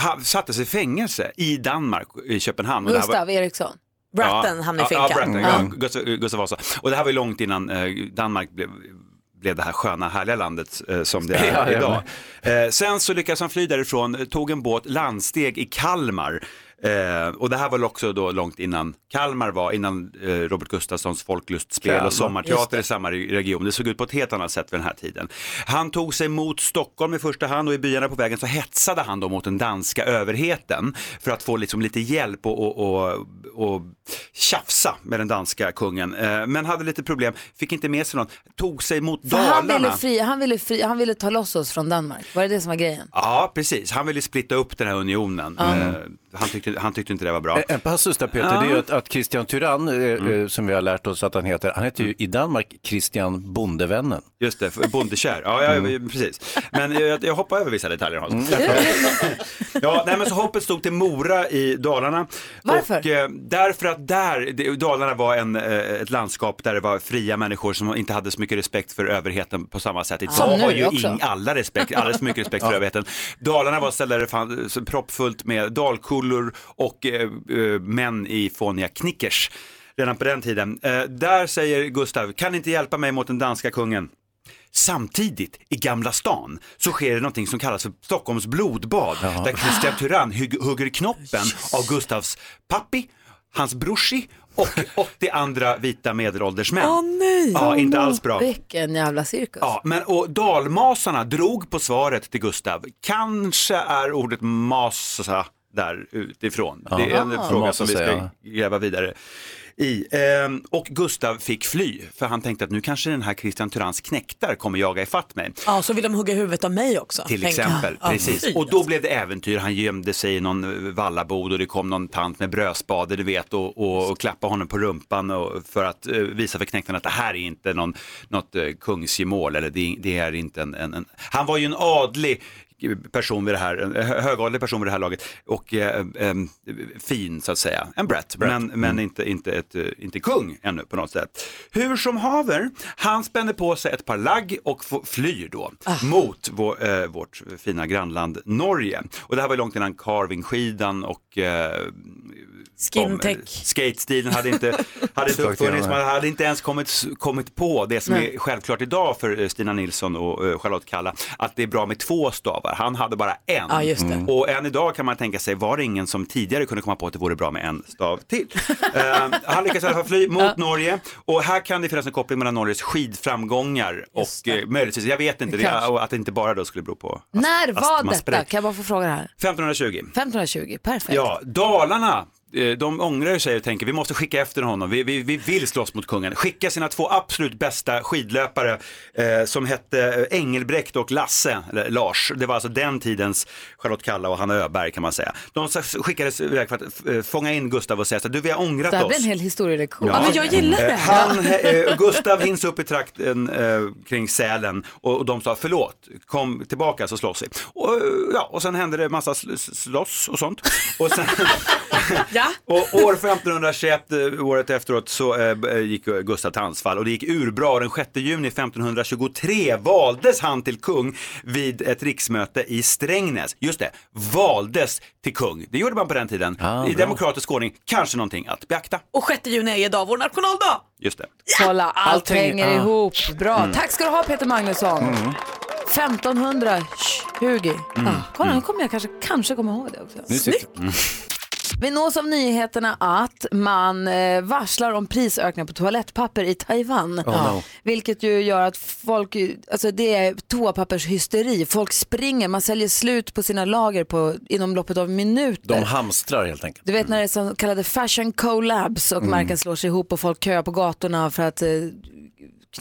ha- sattes i fängelse i Danmark, i Köpenhamn. Och det här var- Gustav Eriksson. Ja, Ja, ja, Bratten, ja, Gustav, Gustav Vasa. Och det här var ju långt innan eh, Danmark blev, blev det här sköna, härliga landet eh, som det är Ja, ja, idag. Eh, sen så lyckades han fly därifrån, eh, tog en båt, landsteg i Kalmar. Eh, och det här var väl också då långt innan Kalmar var, innan eh, Robert Gustafssons folklustspel Kalmar, och just sommarteater det. i samma re- region. Det såg ut på ett helt annat sätt vid den här tiden. Han tog sig mot Stockholm i första hand och i byarna på vägen så hetsade han då mot den danska överheten för att få liksom lite hjälp och, och, och, och tjafsa med den danska kungen. Eh, men hade lite problem, fick inte med sig någon, tog sig mot För Dalarna. han ville, fri, han, ville fri, han ville ta loss oss från Danmark. Var det det som var grejen? Ja, precis. Han ville splitta upp den här unionen. Eh, han, tyckte, han tyckte inte det var bra. En passus där Peter, Ja. det är ju att, att Christian Tyrann, eh, Mm. eh, som vi har lärt oss att han heter, han heter ju i Danmark Christian Bondevännen. Just det, för- bondekär. Ja, ja Mm. precis. Men jag, jag hoppar över vissa detaljer Hans. Ja, nej, men så hoppet stod till Mora i Dalarna. Varför? Och, eh, därför att där, det, Dalarna var en, eh, ett landskap där det var fria människor som inte hade så mycket respekt för överheten på samma sätt. Idag Som nu har ju också. alla respekt, alldeles för mycket respekt för överheten. Dalarna var ett ställe där det fanns proppfullt med dalkullor och eh, eh, män i fåniga knickers. Redan på den tiden. Eh, där säger Gustav, kan ni inte hjälpa mig mot den danska kungen? Samtidigt i Gamla stan så sker det någonting som kallas för Stockholms blodbad där Kristian Tyrann hugg- hugger knoppen av Gustavs pappi, hans brorsi och 80 andra vita medelålders män. Åh, nej. Ja, inte alls bra. Vilken jävla cirkus. Ja, men och dalmasarna drog på svaret till Gustav. Kanske är ordet masa där utifrån. Det är en Ja. fråga Masa, som vi ska säger gräva vidare i. Ehm, och Gustav fick fly, för han tänkte att nu kanske den här Christian Tyrans knektar kommer jaga ifatt mig. Ja, så vill de hugga huvudet av mig också. Till tänker jag. exempel, Ja, precis. fy. alltså. Och då blev det äventyr, han gömde sig i någon eh, vallabod och det kom någon tant med brödspade, du vet, och, och, och klappade honom på rumpan och, för att eh, visa för knektarna att det här är inte någon, något eh, kungsgemål eller det, det är inte en, en, en... Han var ju en adlig eh, person vid det här, en hö- högadlig person vid det här laget och eh, eh, fin så att säga, en brat, men, men inte, inte, ett, eh, inte kung ännu på något sätt. Hur som haver, han spänner på sig ett par lagg och f- flyr då mot vår, eh, vårt fina grannland Norge. Och det här var långt innan carvingskidan och eh, Skintech. de- Skatestilen hade inte, hade inte uppfunnits, man hade inte ens kommit, kommit på det som Nej. är självklart idag för eh, Stina Nilsson och eh, Charlotte Kalla, att det är bra med två stavar. Han hade bara en. Ja, just det. Mm. Och än idag kan man tänka sig, var det ingen som tidigare kunde komma på att det vore bra med en stav till? Eh, han lyckas i alla fall fly mot Norge och här kan det finnas en koppling mellan Norges skidframgångar och eh, möjligtvis, jag vet inte, det, Kanske. och att det inte bara då skulle bero på När ast- var astmaspray. detta? Kan jag bara få fråga det här? 1520. 1520, perfekt. Ja, Dalarna. eh, De ångrar sig och tänker vi måste skicka efter honom, vi, vi, vi vill slåss mot kungen. Skicka sina två absolut bästa skidlöpare eh, som hette Engelbrekt och Lasse, eller Lars. Det var alltså den tidens Charlotte Kalla och Hanna Öberg kan man säga. De s- skickades iväg för att eh, fånga in Gustav och säga så här, du vi har ångrat Det här oss. blir en hel historielektion. Eh, Han, eh, Gustav hinns upp i trakten eh, kring Sälen och, och de sa förlåt, kom tillbaka så slåss vi. Och, eh, ja, och sen hände det massa sl- sl- slåss och sånt. Och, sen, och år 1521, eh, året efteråt, så eh, b- eh, gick Gustav till anfall och det gick urbra. Och Den 6 juni 1523 valdes han till kung vid ett riksmöte i Strängnäs. Just det, valdes till kung. Det gjorde man på den tiden. I bra. demokratisk ordning, kanske någonting att beakta. Och 6 juni är idag vår nationaldag. Just det. Kolla, allt Allting- hänger ja. ihop. Bra. Mm. Tack ska du ha Peter Magnusson. Mm. 1520. Mm. Ah, kolla, nu kommer jag kanske, kanske komma ihåg det också. Vi nås av nyheterna att man eh, varslar om prisökningar på toalettpapper i Taiwan. Oh, no. Vilket ju gör att folk, ju- alltså det är toapappershysteri. Folk springer, man säljer slut på sina lager på, inom loppet av minuter. De hamstrar helt enkelt. Du vet när det är så kallade fashion collabs och Mm. märken slår sig ihop och folk köar på gatorna för att eh,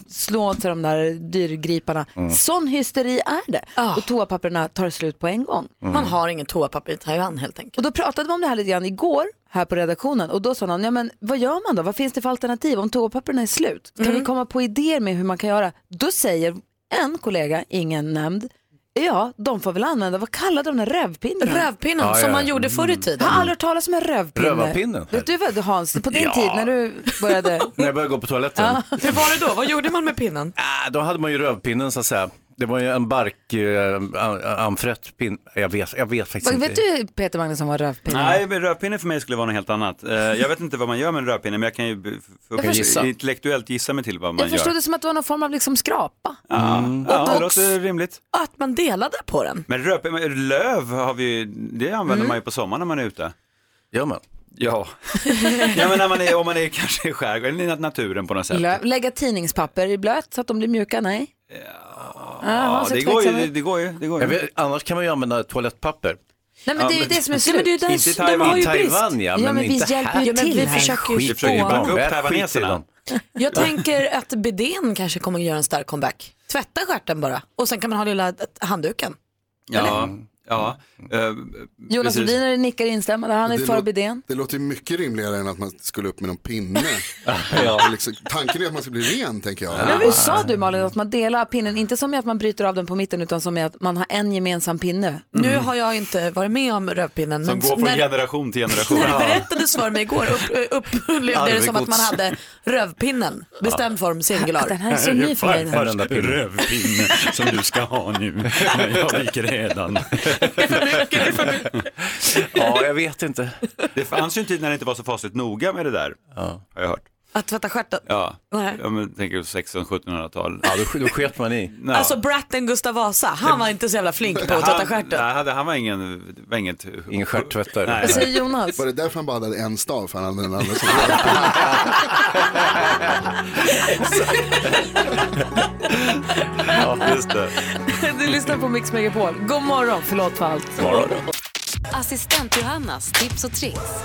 slå åt sig de där dyrgriparna. Mm. Sån hysteri är det. Och toapapperna tar slut på en gång. Mm. Man har ingen toapapper i Taiwan helt enkelt. Och då pratade vi om det här lite grann igår här på redaktionen och då sa någon, ja men vad gör man då? Vad finns det för alternativ om toapapperna är slut? Kan vi komma på idéer med hur man kan göra? Då säger en kollega, ingen nämnd, ja de får väl använda, vad kallar de den rövpinnen? Rövpinnen, Ja, som ja, man ja. gjorde förr i Mm. tiden. Har aldrig hört talas om en rövpinne? Rövarpinnen? Vet du vad Hans, på din Ja. tid när du började När jag började gå på toaletten. Hur var det då? Vad gjorde man med pinnen? Ah, då hade man ju rövpinnen så att säga. Det var ju en bark, eh, an- anfrätt pin. Jag vet, jag vet faktiskt Vad inte. vet du Peter Magnusson vad rövpinne är? Nej, men rödpinne för mig skulle vara något helt annat. Eh, Jag vet inte vad man gör med en rödpinne, men jag kan ju b- f- Jag f- förstår- intellektuellt gissa mig till vad man Jag förstod gör. det som att det var någon form av liksom skrapa. Ja, ja, det Och- låter rimligt. Att man delade på den. Men röp, men löv har vi ju, det använder man ju på sommaren när man är ute. Gör man? Ja. ja men när man är, om man är kanske i skärgården eller i naturen på något sätt. Lö- Lägga tidningspapper i blöt så att de blir mjuka, nej. Ah, det går ju, det- det går ju. Det går Jag vet, annars kan man ju använda toalettpapper. Nej, men det är ju det som är Nej, men det är ju där- Inte i de Taiwan. har ju brist. Taiwan, ja, men vi inte hjälper här. ju Ja, men till. vi här. försöker ju Vi försöker få- backa upp Skit i taiwaneserna. dem. Jag tänker att bidén kanske kommer att göra en stark comeback. Tvätta stjärten bara och sen kan man ha lilla handduken. Ja, ja. eh, Jonas precis. Rhodiner nickar instämmande, han är Det för låter- bidén. Det låter ju mycket rimligare än att man skulle upp med någon pinne. Det är liksom, tanken är att man ska bli ren tänker jag. Men hur sa du Malin att man delar pinnen, inte som i att man bryter av den på mitten utan som i att man har en gemensam pinne. Mm. Nu har jag inte varit med om rövpinnen. Som men går från när- generation till generation. När det berättades för mig igår upp, eh, upplevde jag det som att man Arvegods. hade rövpinnen, bestämd form, singular. Den här är så ny för mig. den. Farfars rövpinne som du ska ha nu. Men jag gick redan. Ja, jag vet inte. Det fanns ju en tid när det inte var så fasligt noga med det där. Har jag hört. Att tvätta stjärten. Ja, Nej. jag men, tänker 1600-1700-tal. Ja, då, då sket man i. Ja. Alltså bratten Gustav Vasa, han var inte så jävla flink på att tvätta stjärten. Han, nej, hade- han var ingen, var inget... Ingen stjärttvättare. Nej, nej. Alltså, Jonas? Var det därför han bara hade en stav för han hade den andra som Ja, just det. du lyssnar på Mix Megapol. God morgon, förlåt för allt. Assistent Johannas tips och tricks.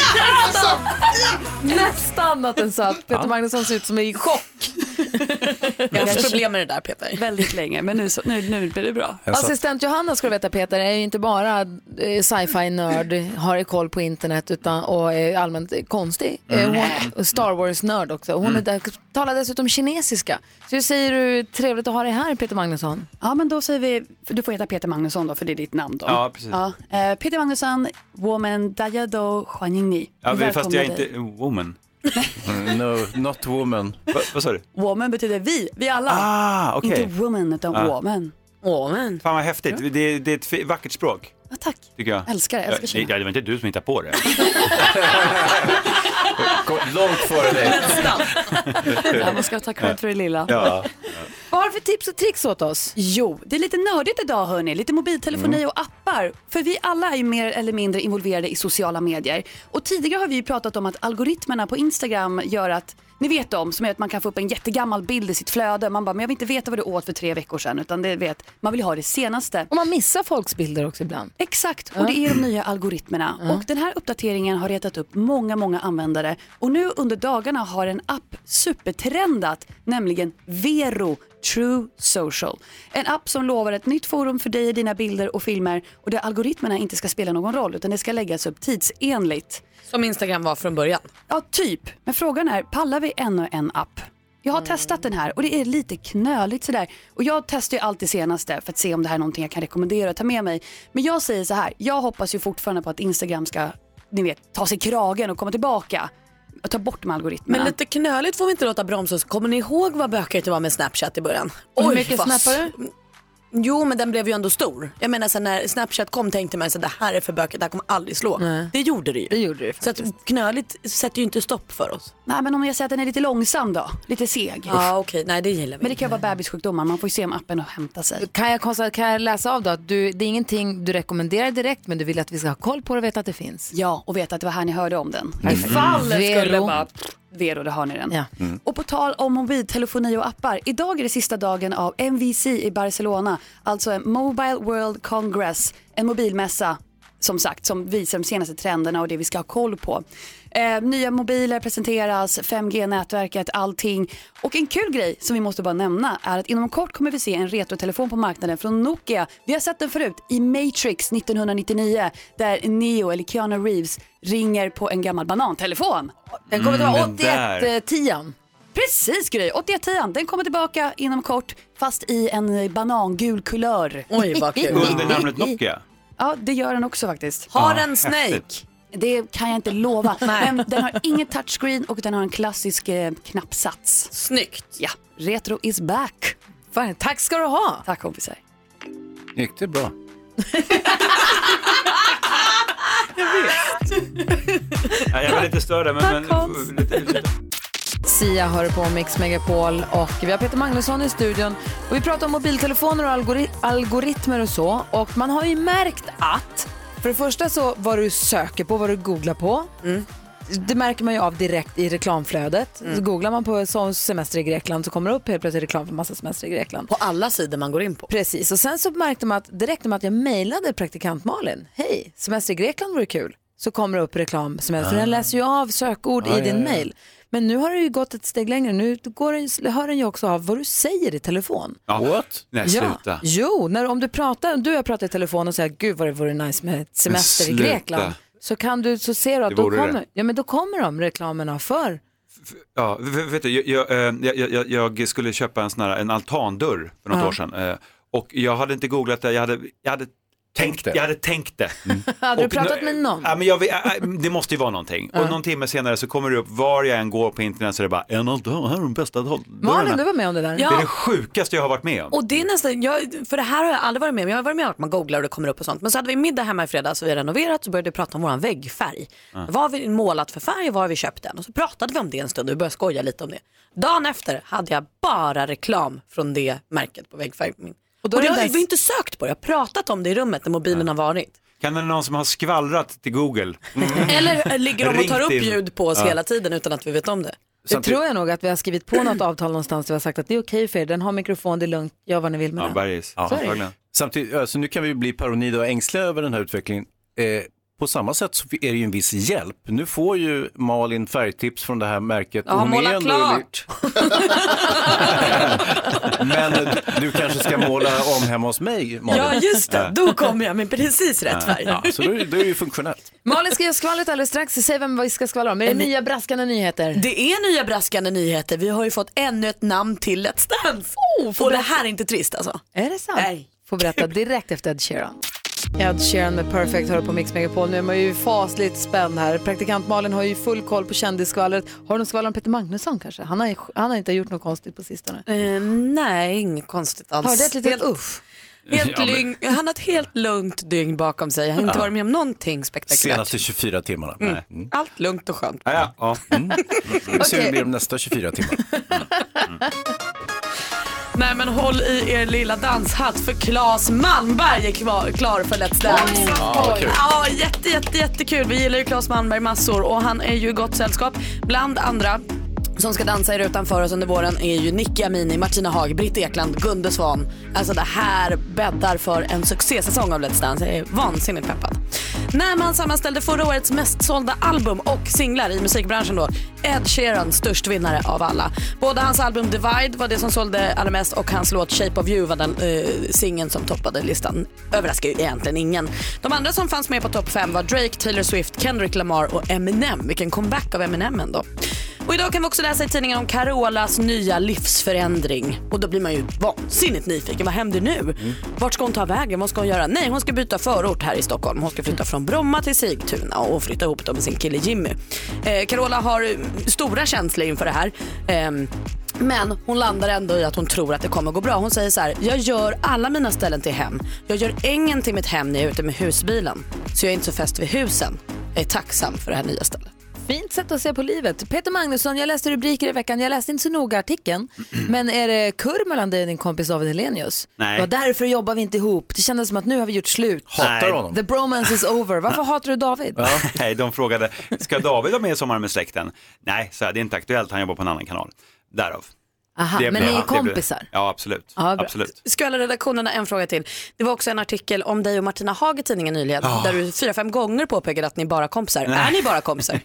Alltså, Nästan att den satt. Peter Magnusson ser ut som i chock. Jag har haft problem med det där Peter. Väldigt länge, men nu, så, nu, nu blir det bra. Assistent Johanna ska du veta Peter är ju inte bara eh, sci-fi-nörd, har koll på internet utan, och är allmänt eh, konstig. Eh, Hon är Star Wars-nörd också. Hon är där, talar dessutom kinesiska. Så hur säger du trevligt att ha dig här Peter Magnusson? Ja, men då säger vi, för du får heta Peter Magnusson då, för det är ditt namn då. Ja, precis. eh, Peter Magnusson, woman, dajado, huaningni. Ja, fast jag är inte woman. no, not woman. Va, vad sa du? Woman betyder vi, vi alla. Ah, okej. Inte woman, utan Ah. woman. Woman. Fan vad häftigt. Det, det är ett fi- vackert språk. Ja, tack. Tycker jag. Älskar det, älskar Ja, Kina. det var inte du som hittade på det. Kom Långt före dig. Ja, man ska ta cred för det lilla. Ja. Vad har du för tips och tricks åt oss? Jo, det är lite nördigt idag hörni. Lite mobiltelefoni och appar. För vi alla är ju mer eller mindre involverade i sociala medier. Och tidigare har vi ju pratat om att algoritmerna på Instagram gör att, ni vet dem, som gör att man kan få upp en jättegammal bild i sitt flöde. Man bara, men jag vill inte veta vad du åt för tre veckor sedan. Utan det vet, man vill ha det senaste. Och man missar folks bilder också ibland. Exakt, och det är de nya algoritmerna. Och den här uppdateringen har retat upp många, många användare. Och nu under dagarna har en app supertrendat, nämligen Vero True Social. En app som lovar ett nytt forum för dig, dina bilder och filmer och där algoritmerna inte ska spela någon roll utan det ska läggas upp tidsenligt. Som Instagram var från början. Ja, typ. Men frågan är, pallar vi en och en app? Jag har testat den här och det är lite knöligt sådär. Och jag testar ju allt det senaste för att se om det här är någonting jag kan rekommendera och ta med mig. Men jag säger så här, jag hoppas ju fortfarande på att Instagram ska, ni vet, ta sig kragen och komma tillbaka. Och ta bort de här algoritmerna. Men lite knöligt får vi inte låta bromsa oss. Kommer ni ihåg vad bökigt det var med Snapchat i början? Hur mycket snappade du? Jo, men den blev ju ändå stor. Jag menar, sen när Snapchat kom tänkte man att det här är för bökigt, det här kommer aldrig slå. Det gjorde det ju. Det gjorde det så att knöligt sätter ju inte stopp för oss. Nej men om jag säger att den är lite långsam då, lite seg. Ja, okej. Nej, det gillar vi Men det kan ju vara bebissjukdomar, man får ju se om appen och hämta sig. Kan jag, konsta- kan jag läsa av då att du, det är ingenting du rekommenderar direkt men du vill att vi ska ha koll på det och veta att det finns? Ja, och veta att det var här ni hörde om den. Mm. Ifall den skulle Vero. bara... Vero, där har ni den. Och på tal om mobiltelefoni och appar. Idag är det sista dagen av MVC i Barcelona, alltså en Mobile World Congress, en mobilmässa som sagt som visar de senaste trenderna och det vi ska ha koll på. Eh, nya mobiler presenteras, 5G-nätverket, allting. Och en kul grej som vi måste bara nämna är att inom kort kommer vi se en retrotelefon på marknaden från Nokia. Vi har sett den förut i Matrix 1999 där Neo eller Keanu Reeves ringer på en gammal banantelefon. Den kommer att vara Mm, den 81, där. eh, Precis Gry, 8110 den kommer tillbaka inom kort fast i en eh, banangul kulör. Oj, vad kul. Under namnet Nokia. Ja, det gör den också faktiskt. Har den Snake? häftigt. Det kan jag inte lova. Men den har ingen touchscreen och den har en klassisk eh, knappsats. Snyggt. Ja, retro is back. tack ska du ha. Tack kompisar. Gick det bra? Ja, jag var lite störd där, men... men lite, lite. Sia hör på Mix Megapol och vi har Peter Magnusson i studion. Och vi pratar om mobiltelefoner och algori- algoritmer och så. Och man har ju märkt att, för det första så vad du söker på, vad du googlar på. Det märker man ju av direkt i reklamflödet. Så googlar man på så- semester i Grekland så kommer det upp helt plötsligt reklam för massa semester i Grekland. På alla sidor man går in på. Precis, och sen så märkte man att direkt med att jag mejlade praktikant Malin, hej, semester i Grekland vore kul, så kommer det upp reklam, semester. Ah. den läser ju av sökord Ah, i din ja, ja. mejl. Men nu har det ju gått ett steg längre, nu går den, ju- hör den ju också av vad du säger i telefon. Ja. What? Nej, Ja. sluta. Jo, när, om du pratar, om du och jag pratar i telefon och säger gud vad det vore nice med ett semester i sluta. Grekland, så kan du, så ser du Det att då vore det. kommer, ja, men då kommer de reklamerna för Ja, v- vet du, jag, jag, eh, jag, jag, jag skulle köpa en sån här, en altandörr för något Ja. år sedan. eh, Och jag hade inte googlat det, jag hade, jag hade tänkt det. Mm. Jag hade tänkt det. Hade du Och pratat nu- med någon? Ja, men jag, vet- äh, äh, det måste ju vara någonting. Och någon timme senare så kommer det upp, var jag än går på internet så är det bara, en altandörr, här är de bästa Malin, du altandörrarna. var med om det där. Det är det sjukaste jag har varit med om. Och det är nästan, jag, för det här har jag aldrig varit med om. Jag har varit med om att man googlar och det kommer upp och sånt. Men så hade vi middag hemma i fredags och vi hade renoverat och började vi prata om våran väggfärg. Ja. Vad har vi målat för färg och vad har vi köpt den? Och så pratade vi om det en stund och vi började skoja lite om det. Dagen efter hade jag bara reklam från det märket på väggfärg. Och, då är det det har ens- vi inte sökt på det, jag har pratat om det i rummet när mobilen har varit. Kan det vara någon som har skvallrat till Google? Eller ligger de och tar Ringt upp in. ljud på oss Ja. hela tiden utan att vi vet om det. Det tror jag nog att vi har skrivit på något avtal någonstans där vi har sagt att det är okej för er, den har mikrofon, det är lugnt, gör vad ni vill med den. bergis. Så är det. antagligen. Samtidigt, alltså, nu kan vi bli paranoida och ängsliga över den här utvecklingen. Eh, På samma sätt så är det ju en viss hjälp. Nu får ju Malin färgtips från det här märket. Ja, Hon är måla ändå- klart. Men du kanske ska måla om hemma hos mig, Malin? Ja, just det. Ja. Då kommer jag med precis rätt färg. Ja, så då är det är ju funktionellt. Malin ska göra skvallret alldeles strax. Säg vem vi ska skvallra om. Är det nya braskande nyheter? Det är nya braskande nyheter. Vi har ju fått ännu ett namn till Let's Dance. får Och det berätta. här är inte trist alltså. Är det sant? Nej. Får berätta direkt efter Ed Sheeran. Ed Sheeran med Perfect hör på Mix Megapol. Nu är man ju fasligt spänd här. Praktikant Malin har ju full koll på kändisskvallret. Har du någon skvaller om Peter Magnusson kanske? Han har, ju- han har inte gjort något konstigt på sistone. Eh, nej, inget konstigt alls. Har du ett litet Helt- uff? Helt Ja, men- lugn, han har ett helt lugnt dygn bakom sig. Han har inte Ja. varit med om någonting spektakulärt. Senaste 24 timmarna. Mm. Nej. Mm. Allt lugnt och skönt. Ja, ja. Mm. Vi ser hur det blir de nästa 24 timmar. Nej men håll i er lilla danshatt för Claes Malmberg är kvar, klar för Let's Dance. Ja, vad kul. Ja, jätte, jätte, jättekul. Vi gillar ju Claes Malmberg massor och han är ju i gott sällskap. Bland andra som ska dansa i rutan för oss under våren är ju Nicky Amini, Martina Haag, Britt Ekland, Gunde Svan. Alltså det här bäddar för en succésäsong av Let's Dance. Jag är vansinnigt peppad. När man sammanställde förra årets mest sålda album och singlar i musikbranschen då, Ed Sheeran störst vinnare av alla. Både hans album Divide var det som sålde allra mest och hans låt Shape of You var den eh, singeln som toppade listan. Överraskar ju egentligen ingen. De andra som fanns med på topp 5 var Drake, Taylor Swift, Kendrick Lamar och Eminem. Vilken comeback av Eminem ändå. Och idag kan vi också läsa i tidningen om Carolas nya livsförändring. Och då blir man ju vansinnigt nyfiken. Vad händer nu? Vart ska hon ta vägen? Vad ska hon göra? Nej, hon ska byta förort här i Stockholm. Hon ska flytta från Bromma till Sigtuna och flytta ihop dem med sin kille Jimmy. Eh, Carola har eh, stora känslor inför det här. Ehm, men hon landar ändå i att hon tror att det kommer gå bra. Hon säger så här, jag gör alla mina ställen till hem. Jag gör ängen till mitt hem när jag är ute med husbilen. Så jag är inte så fäst vid husen. Jag är tacksam för det här nya stället. Fint sätt att se på livet. Peter Magnusson, jag läste rubriker i veckan. Jag läste inte så noga artikeln. Men är det kurr mellan dig och din kompis David Hellenius? Nej. Det var därför jobbar vi inte ihop. Det kändes som att nu har vi gjort slut. Hatar Nej. honom. The bromance is over. Varför hatar du David? Nej, de frågade, ska David vara med i Sommar med släkten? Nej, så det är inte aktuellt, han jobbar på en annan kanal. Därav. Aha, Det men blev- ni är det blev- kompisar? Ja, absolut. Ja, bra. absolut. Skvallerredaktionen har en fråga till. Det var också en artikel om dig och Martina Haag i tidningen nyligen Ah. där du fyra, fem gånger påpekade att ni bara är kompisar. Nej. Är ni bara kompisar?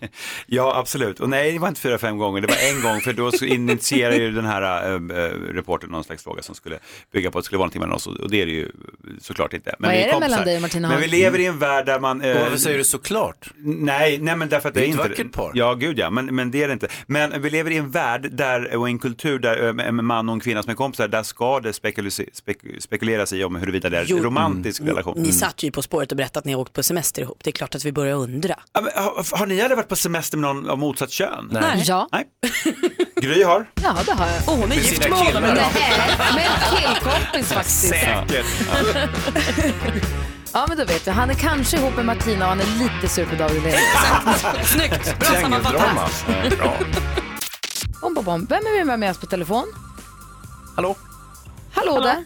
Ja, absolut. Och nej, det var inte fyra, fem gånger, det var en gång, för då så initierade ju den här äh, reportern någon slags fråga som skulle bygga på att det skulle vara någonting mellan oss, och och det är det ju såklart inte. Vad vi är det kompisar. mellan dig och Martina Men vi Haag? lever i en värld där man... eh, Och varför säger du såklart? Nej, nej men därför att Det det är är ett inte... vackert par. Ja, gud ja, men, men det är det inte. Men vi lever i en värld där, och en kultur där eh, en man och en kvinna som är kompisar, där ska det spekulus- spek- spekuleras i om huruvida det är en romantisk mm. relation. Ni Mm. satt ju På spåret och berättade att ni har åkt på semester ihop. Det är klart att vi börjar undra. Ja, men Har, har ni aldrig varit på semester med någon av motsatt kön? Nej. Ja. Nej. Gry har. Ja, det har jag. Och hon är Med gift sina med honom killar. idag. Med en killkompis faktiskt. Ja, men då vet vi. Han är kanske ihop med Martina och han är lite sur på David Hellenius. Snyggt! Bra Triangeldrama. sammanfattat. Eh, Bra. Bom, bom, bom. Vem är vi med med oss på telefon? Hallå? Hallå, där.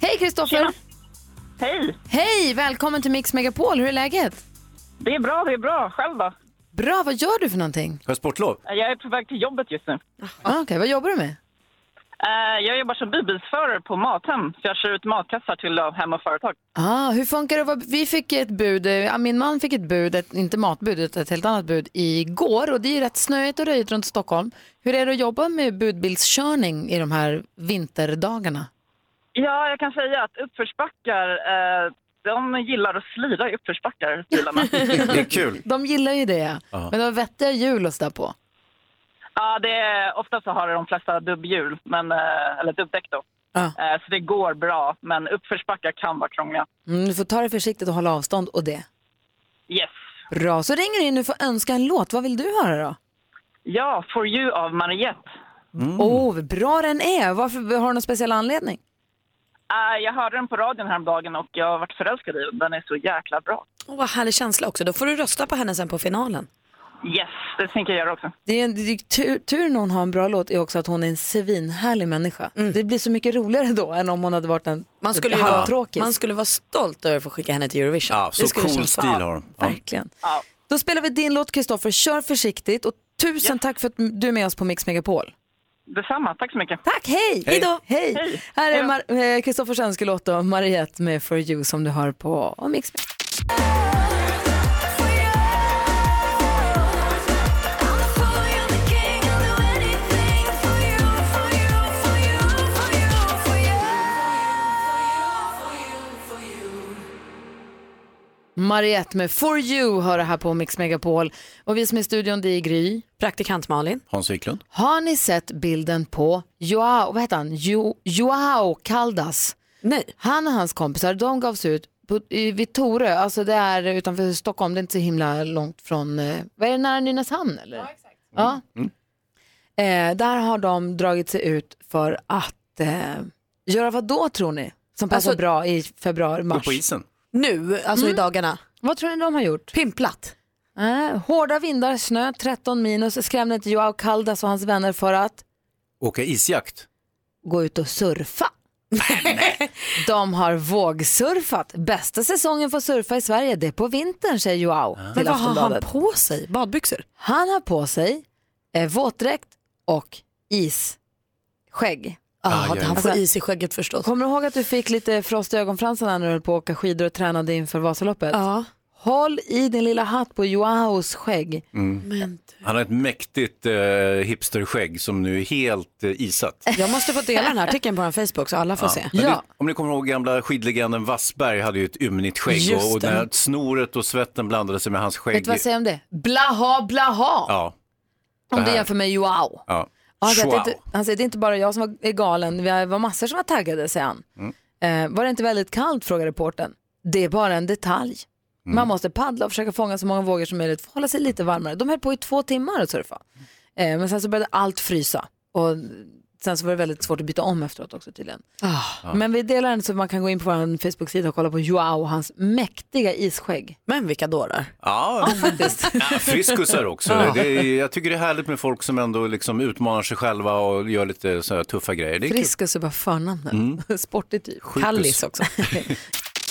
Hej Kristoffer! Hej! Hej! Välkommen till Mix Megapol. Hur är läget? Det är bra, det är bra. Själv då? Eh, Bra, vad gör du för någonting? Har jag sportlov? Jag är på väg till jobbet just nu. Ah, Okej, vad jobbar du med? Eh, Jag jobbar som budbilsförare på Mathem, så jag kör ut matkassar till av hem och företag. Ah, hur funkar det? Vad- Vi fick ett bud, eh, ja, min man fick ett bud, ett, inte matbud, utan ett helt annat bud igår och det är ju rätt snöigt och röjigt runt Stockholm. Hur är det att jobba med budbilskörning i de här vinterdagarna? Ja, jag kan säga att uppförsbackar, eh, de gillar att slira i uppförsbackar, bilarna. Det är kul. De gillar ju det, Ja. men de har vettiga hjul och sådär på. ja, det är, ofta så har de flesta dubbhjul, men, eh, eller dubbdäck då. Eh, Så det går bra, men uppförsbackar kan vara krångliga. Mm, du får ta det försiktigt och hålla avstånd och det. Yes. Bra, så ringer du in och får önska en låt. Vad vill du höra då? Ja, For You av Mariette. Åh, oh, vad bra den är. Varför, har du någon speciell anledning? Eh, Jag hörde den på radion häromdagen och jag har varit förälskad i den. Den är så jäkla bra. Och vad härlig känsla också. Då får du rösta på henne sen på finalen. Yes, det tänker jag göra också. Det är en, det är tur, tur när hon har en bra låt är också att hon är en svinhärlig människa. Det blir så mycket roligare då än om hon hade varit en Mm. Man skulle, ju vara, halvtråkig. man skulle vara stolt över att få skicka henne till Eurovision. Ja, så Det skulle cool kännas- stil har hon. Ja. Verkligen. Då spelar vi din låt Kristoffer, kör försiktigt och tusen tack för att du är med oss på Mix Megapol. Detsamma, tack så mycket. Tack, hej! Hej då! Hej! Hej. Här Hej är då. Mar- eh, Kristoffers önskelåt då, Mariette med For You som du hör på Mix Megapol. Mariette med For You hör det här på Mix Megapol. Och vi som är i studion, det är Gry. Praktikant Malin. Hans Wiklund. Har ni sett bilden på Joao, vad heter han? Jo, Joao Caldas? Nej. Han och hans kompisar, de gavs ut på, i, vid Torö, alltså det är utanför Stockholm, det är inte så himla långt från, eh, vad är det, nära Nynäshamn eller? Ja, exakt. Ja. Eh, där har de dragit sig ut för att eh, göra vad då tror ni? Som passar Alltså- bra i februari, mars. Nu, alltså i Mm. dagarna. Vad tror ni de har gjort? Pimplat. Eh, hårda vindar, snö, 13 minus, skrämde inte Joao Caldas och hans vänner för att Åka isjakt. gå ut och surfa. de har vågsurfat. Bästa säsongen för att surfa i Sverige, det är på vintern, säger Joao Men till vad har han Aftonbladet. på sig? Badbyxor? Han har på sig eh, våtdräkt och isskägg. Ah, han får is i skägget förstås. Kommer du ihåg att du fick lite frost i ögonfransarna när du höll på att åka skidor och tränade inför Vasaloppet? Ja. Håll i din lilla hatt på Joaos skägg. Mm. Men Han har ett mäktigt eh, hipsterskägg som nu är helt eh, isat. Jag måste få dela den här artikeln på vår Facebook så alla får se. Men Du, om ni kommer ihåg gamla skidlegenden Wassberg hade ju ett ymnigt skägg Just och, och det. när snoret och svetten blandade sig med hans skägg. Vet du vad jag säger om det? Blaha, blaha! Ja. Om Det du här. jämför med Joao. Ja. Ja, Han säger, att det Schwau. inte, han säger det är inte bara jag som var är galen, vi var massor som var taggade, säger han. Mm. Eh, var det inte väldigt kallt, frågar reportern. Det är bara en detalj. Mm. Man måste paddla och försöka fånga så många vågor som möjligt för att hålla sig lite varmare. De höll på i två timmar att surfa. Eh, men sen så började allt frysa och sen så var det väldigt svårt att byta om efteråt också tydligen. Ja. Men vi delar den så man kan gå in på vår Facebook-sida och kolla på Joao och hans mäktiga isskägg. Men vilka dårar. Ja, faktiskt. ja, friskusar också. Ja. Det är, jag tycker det är härligt med folk som ändå liksom utmanar sig själva och gör lite så här tuffa grejer. Det är kul. Mm. Friskus är bara förnamnet. Sportig typ. Sjukus. Kallis också.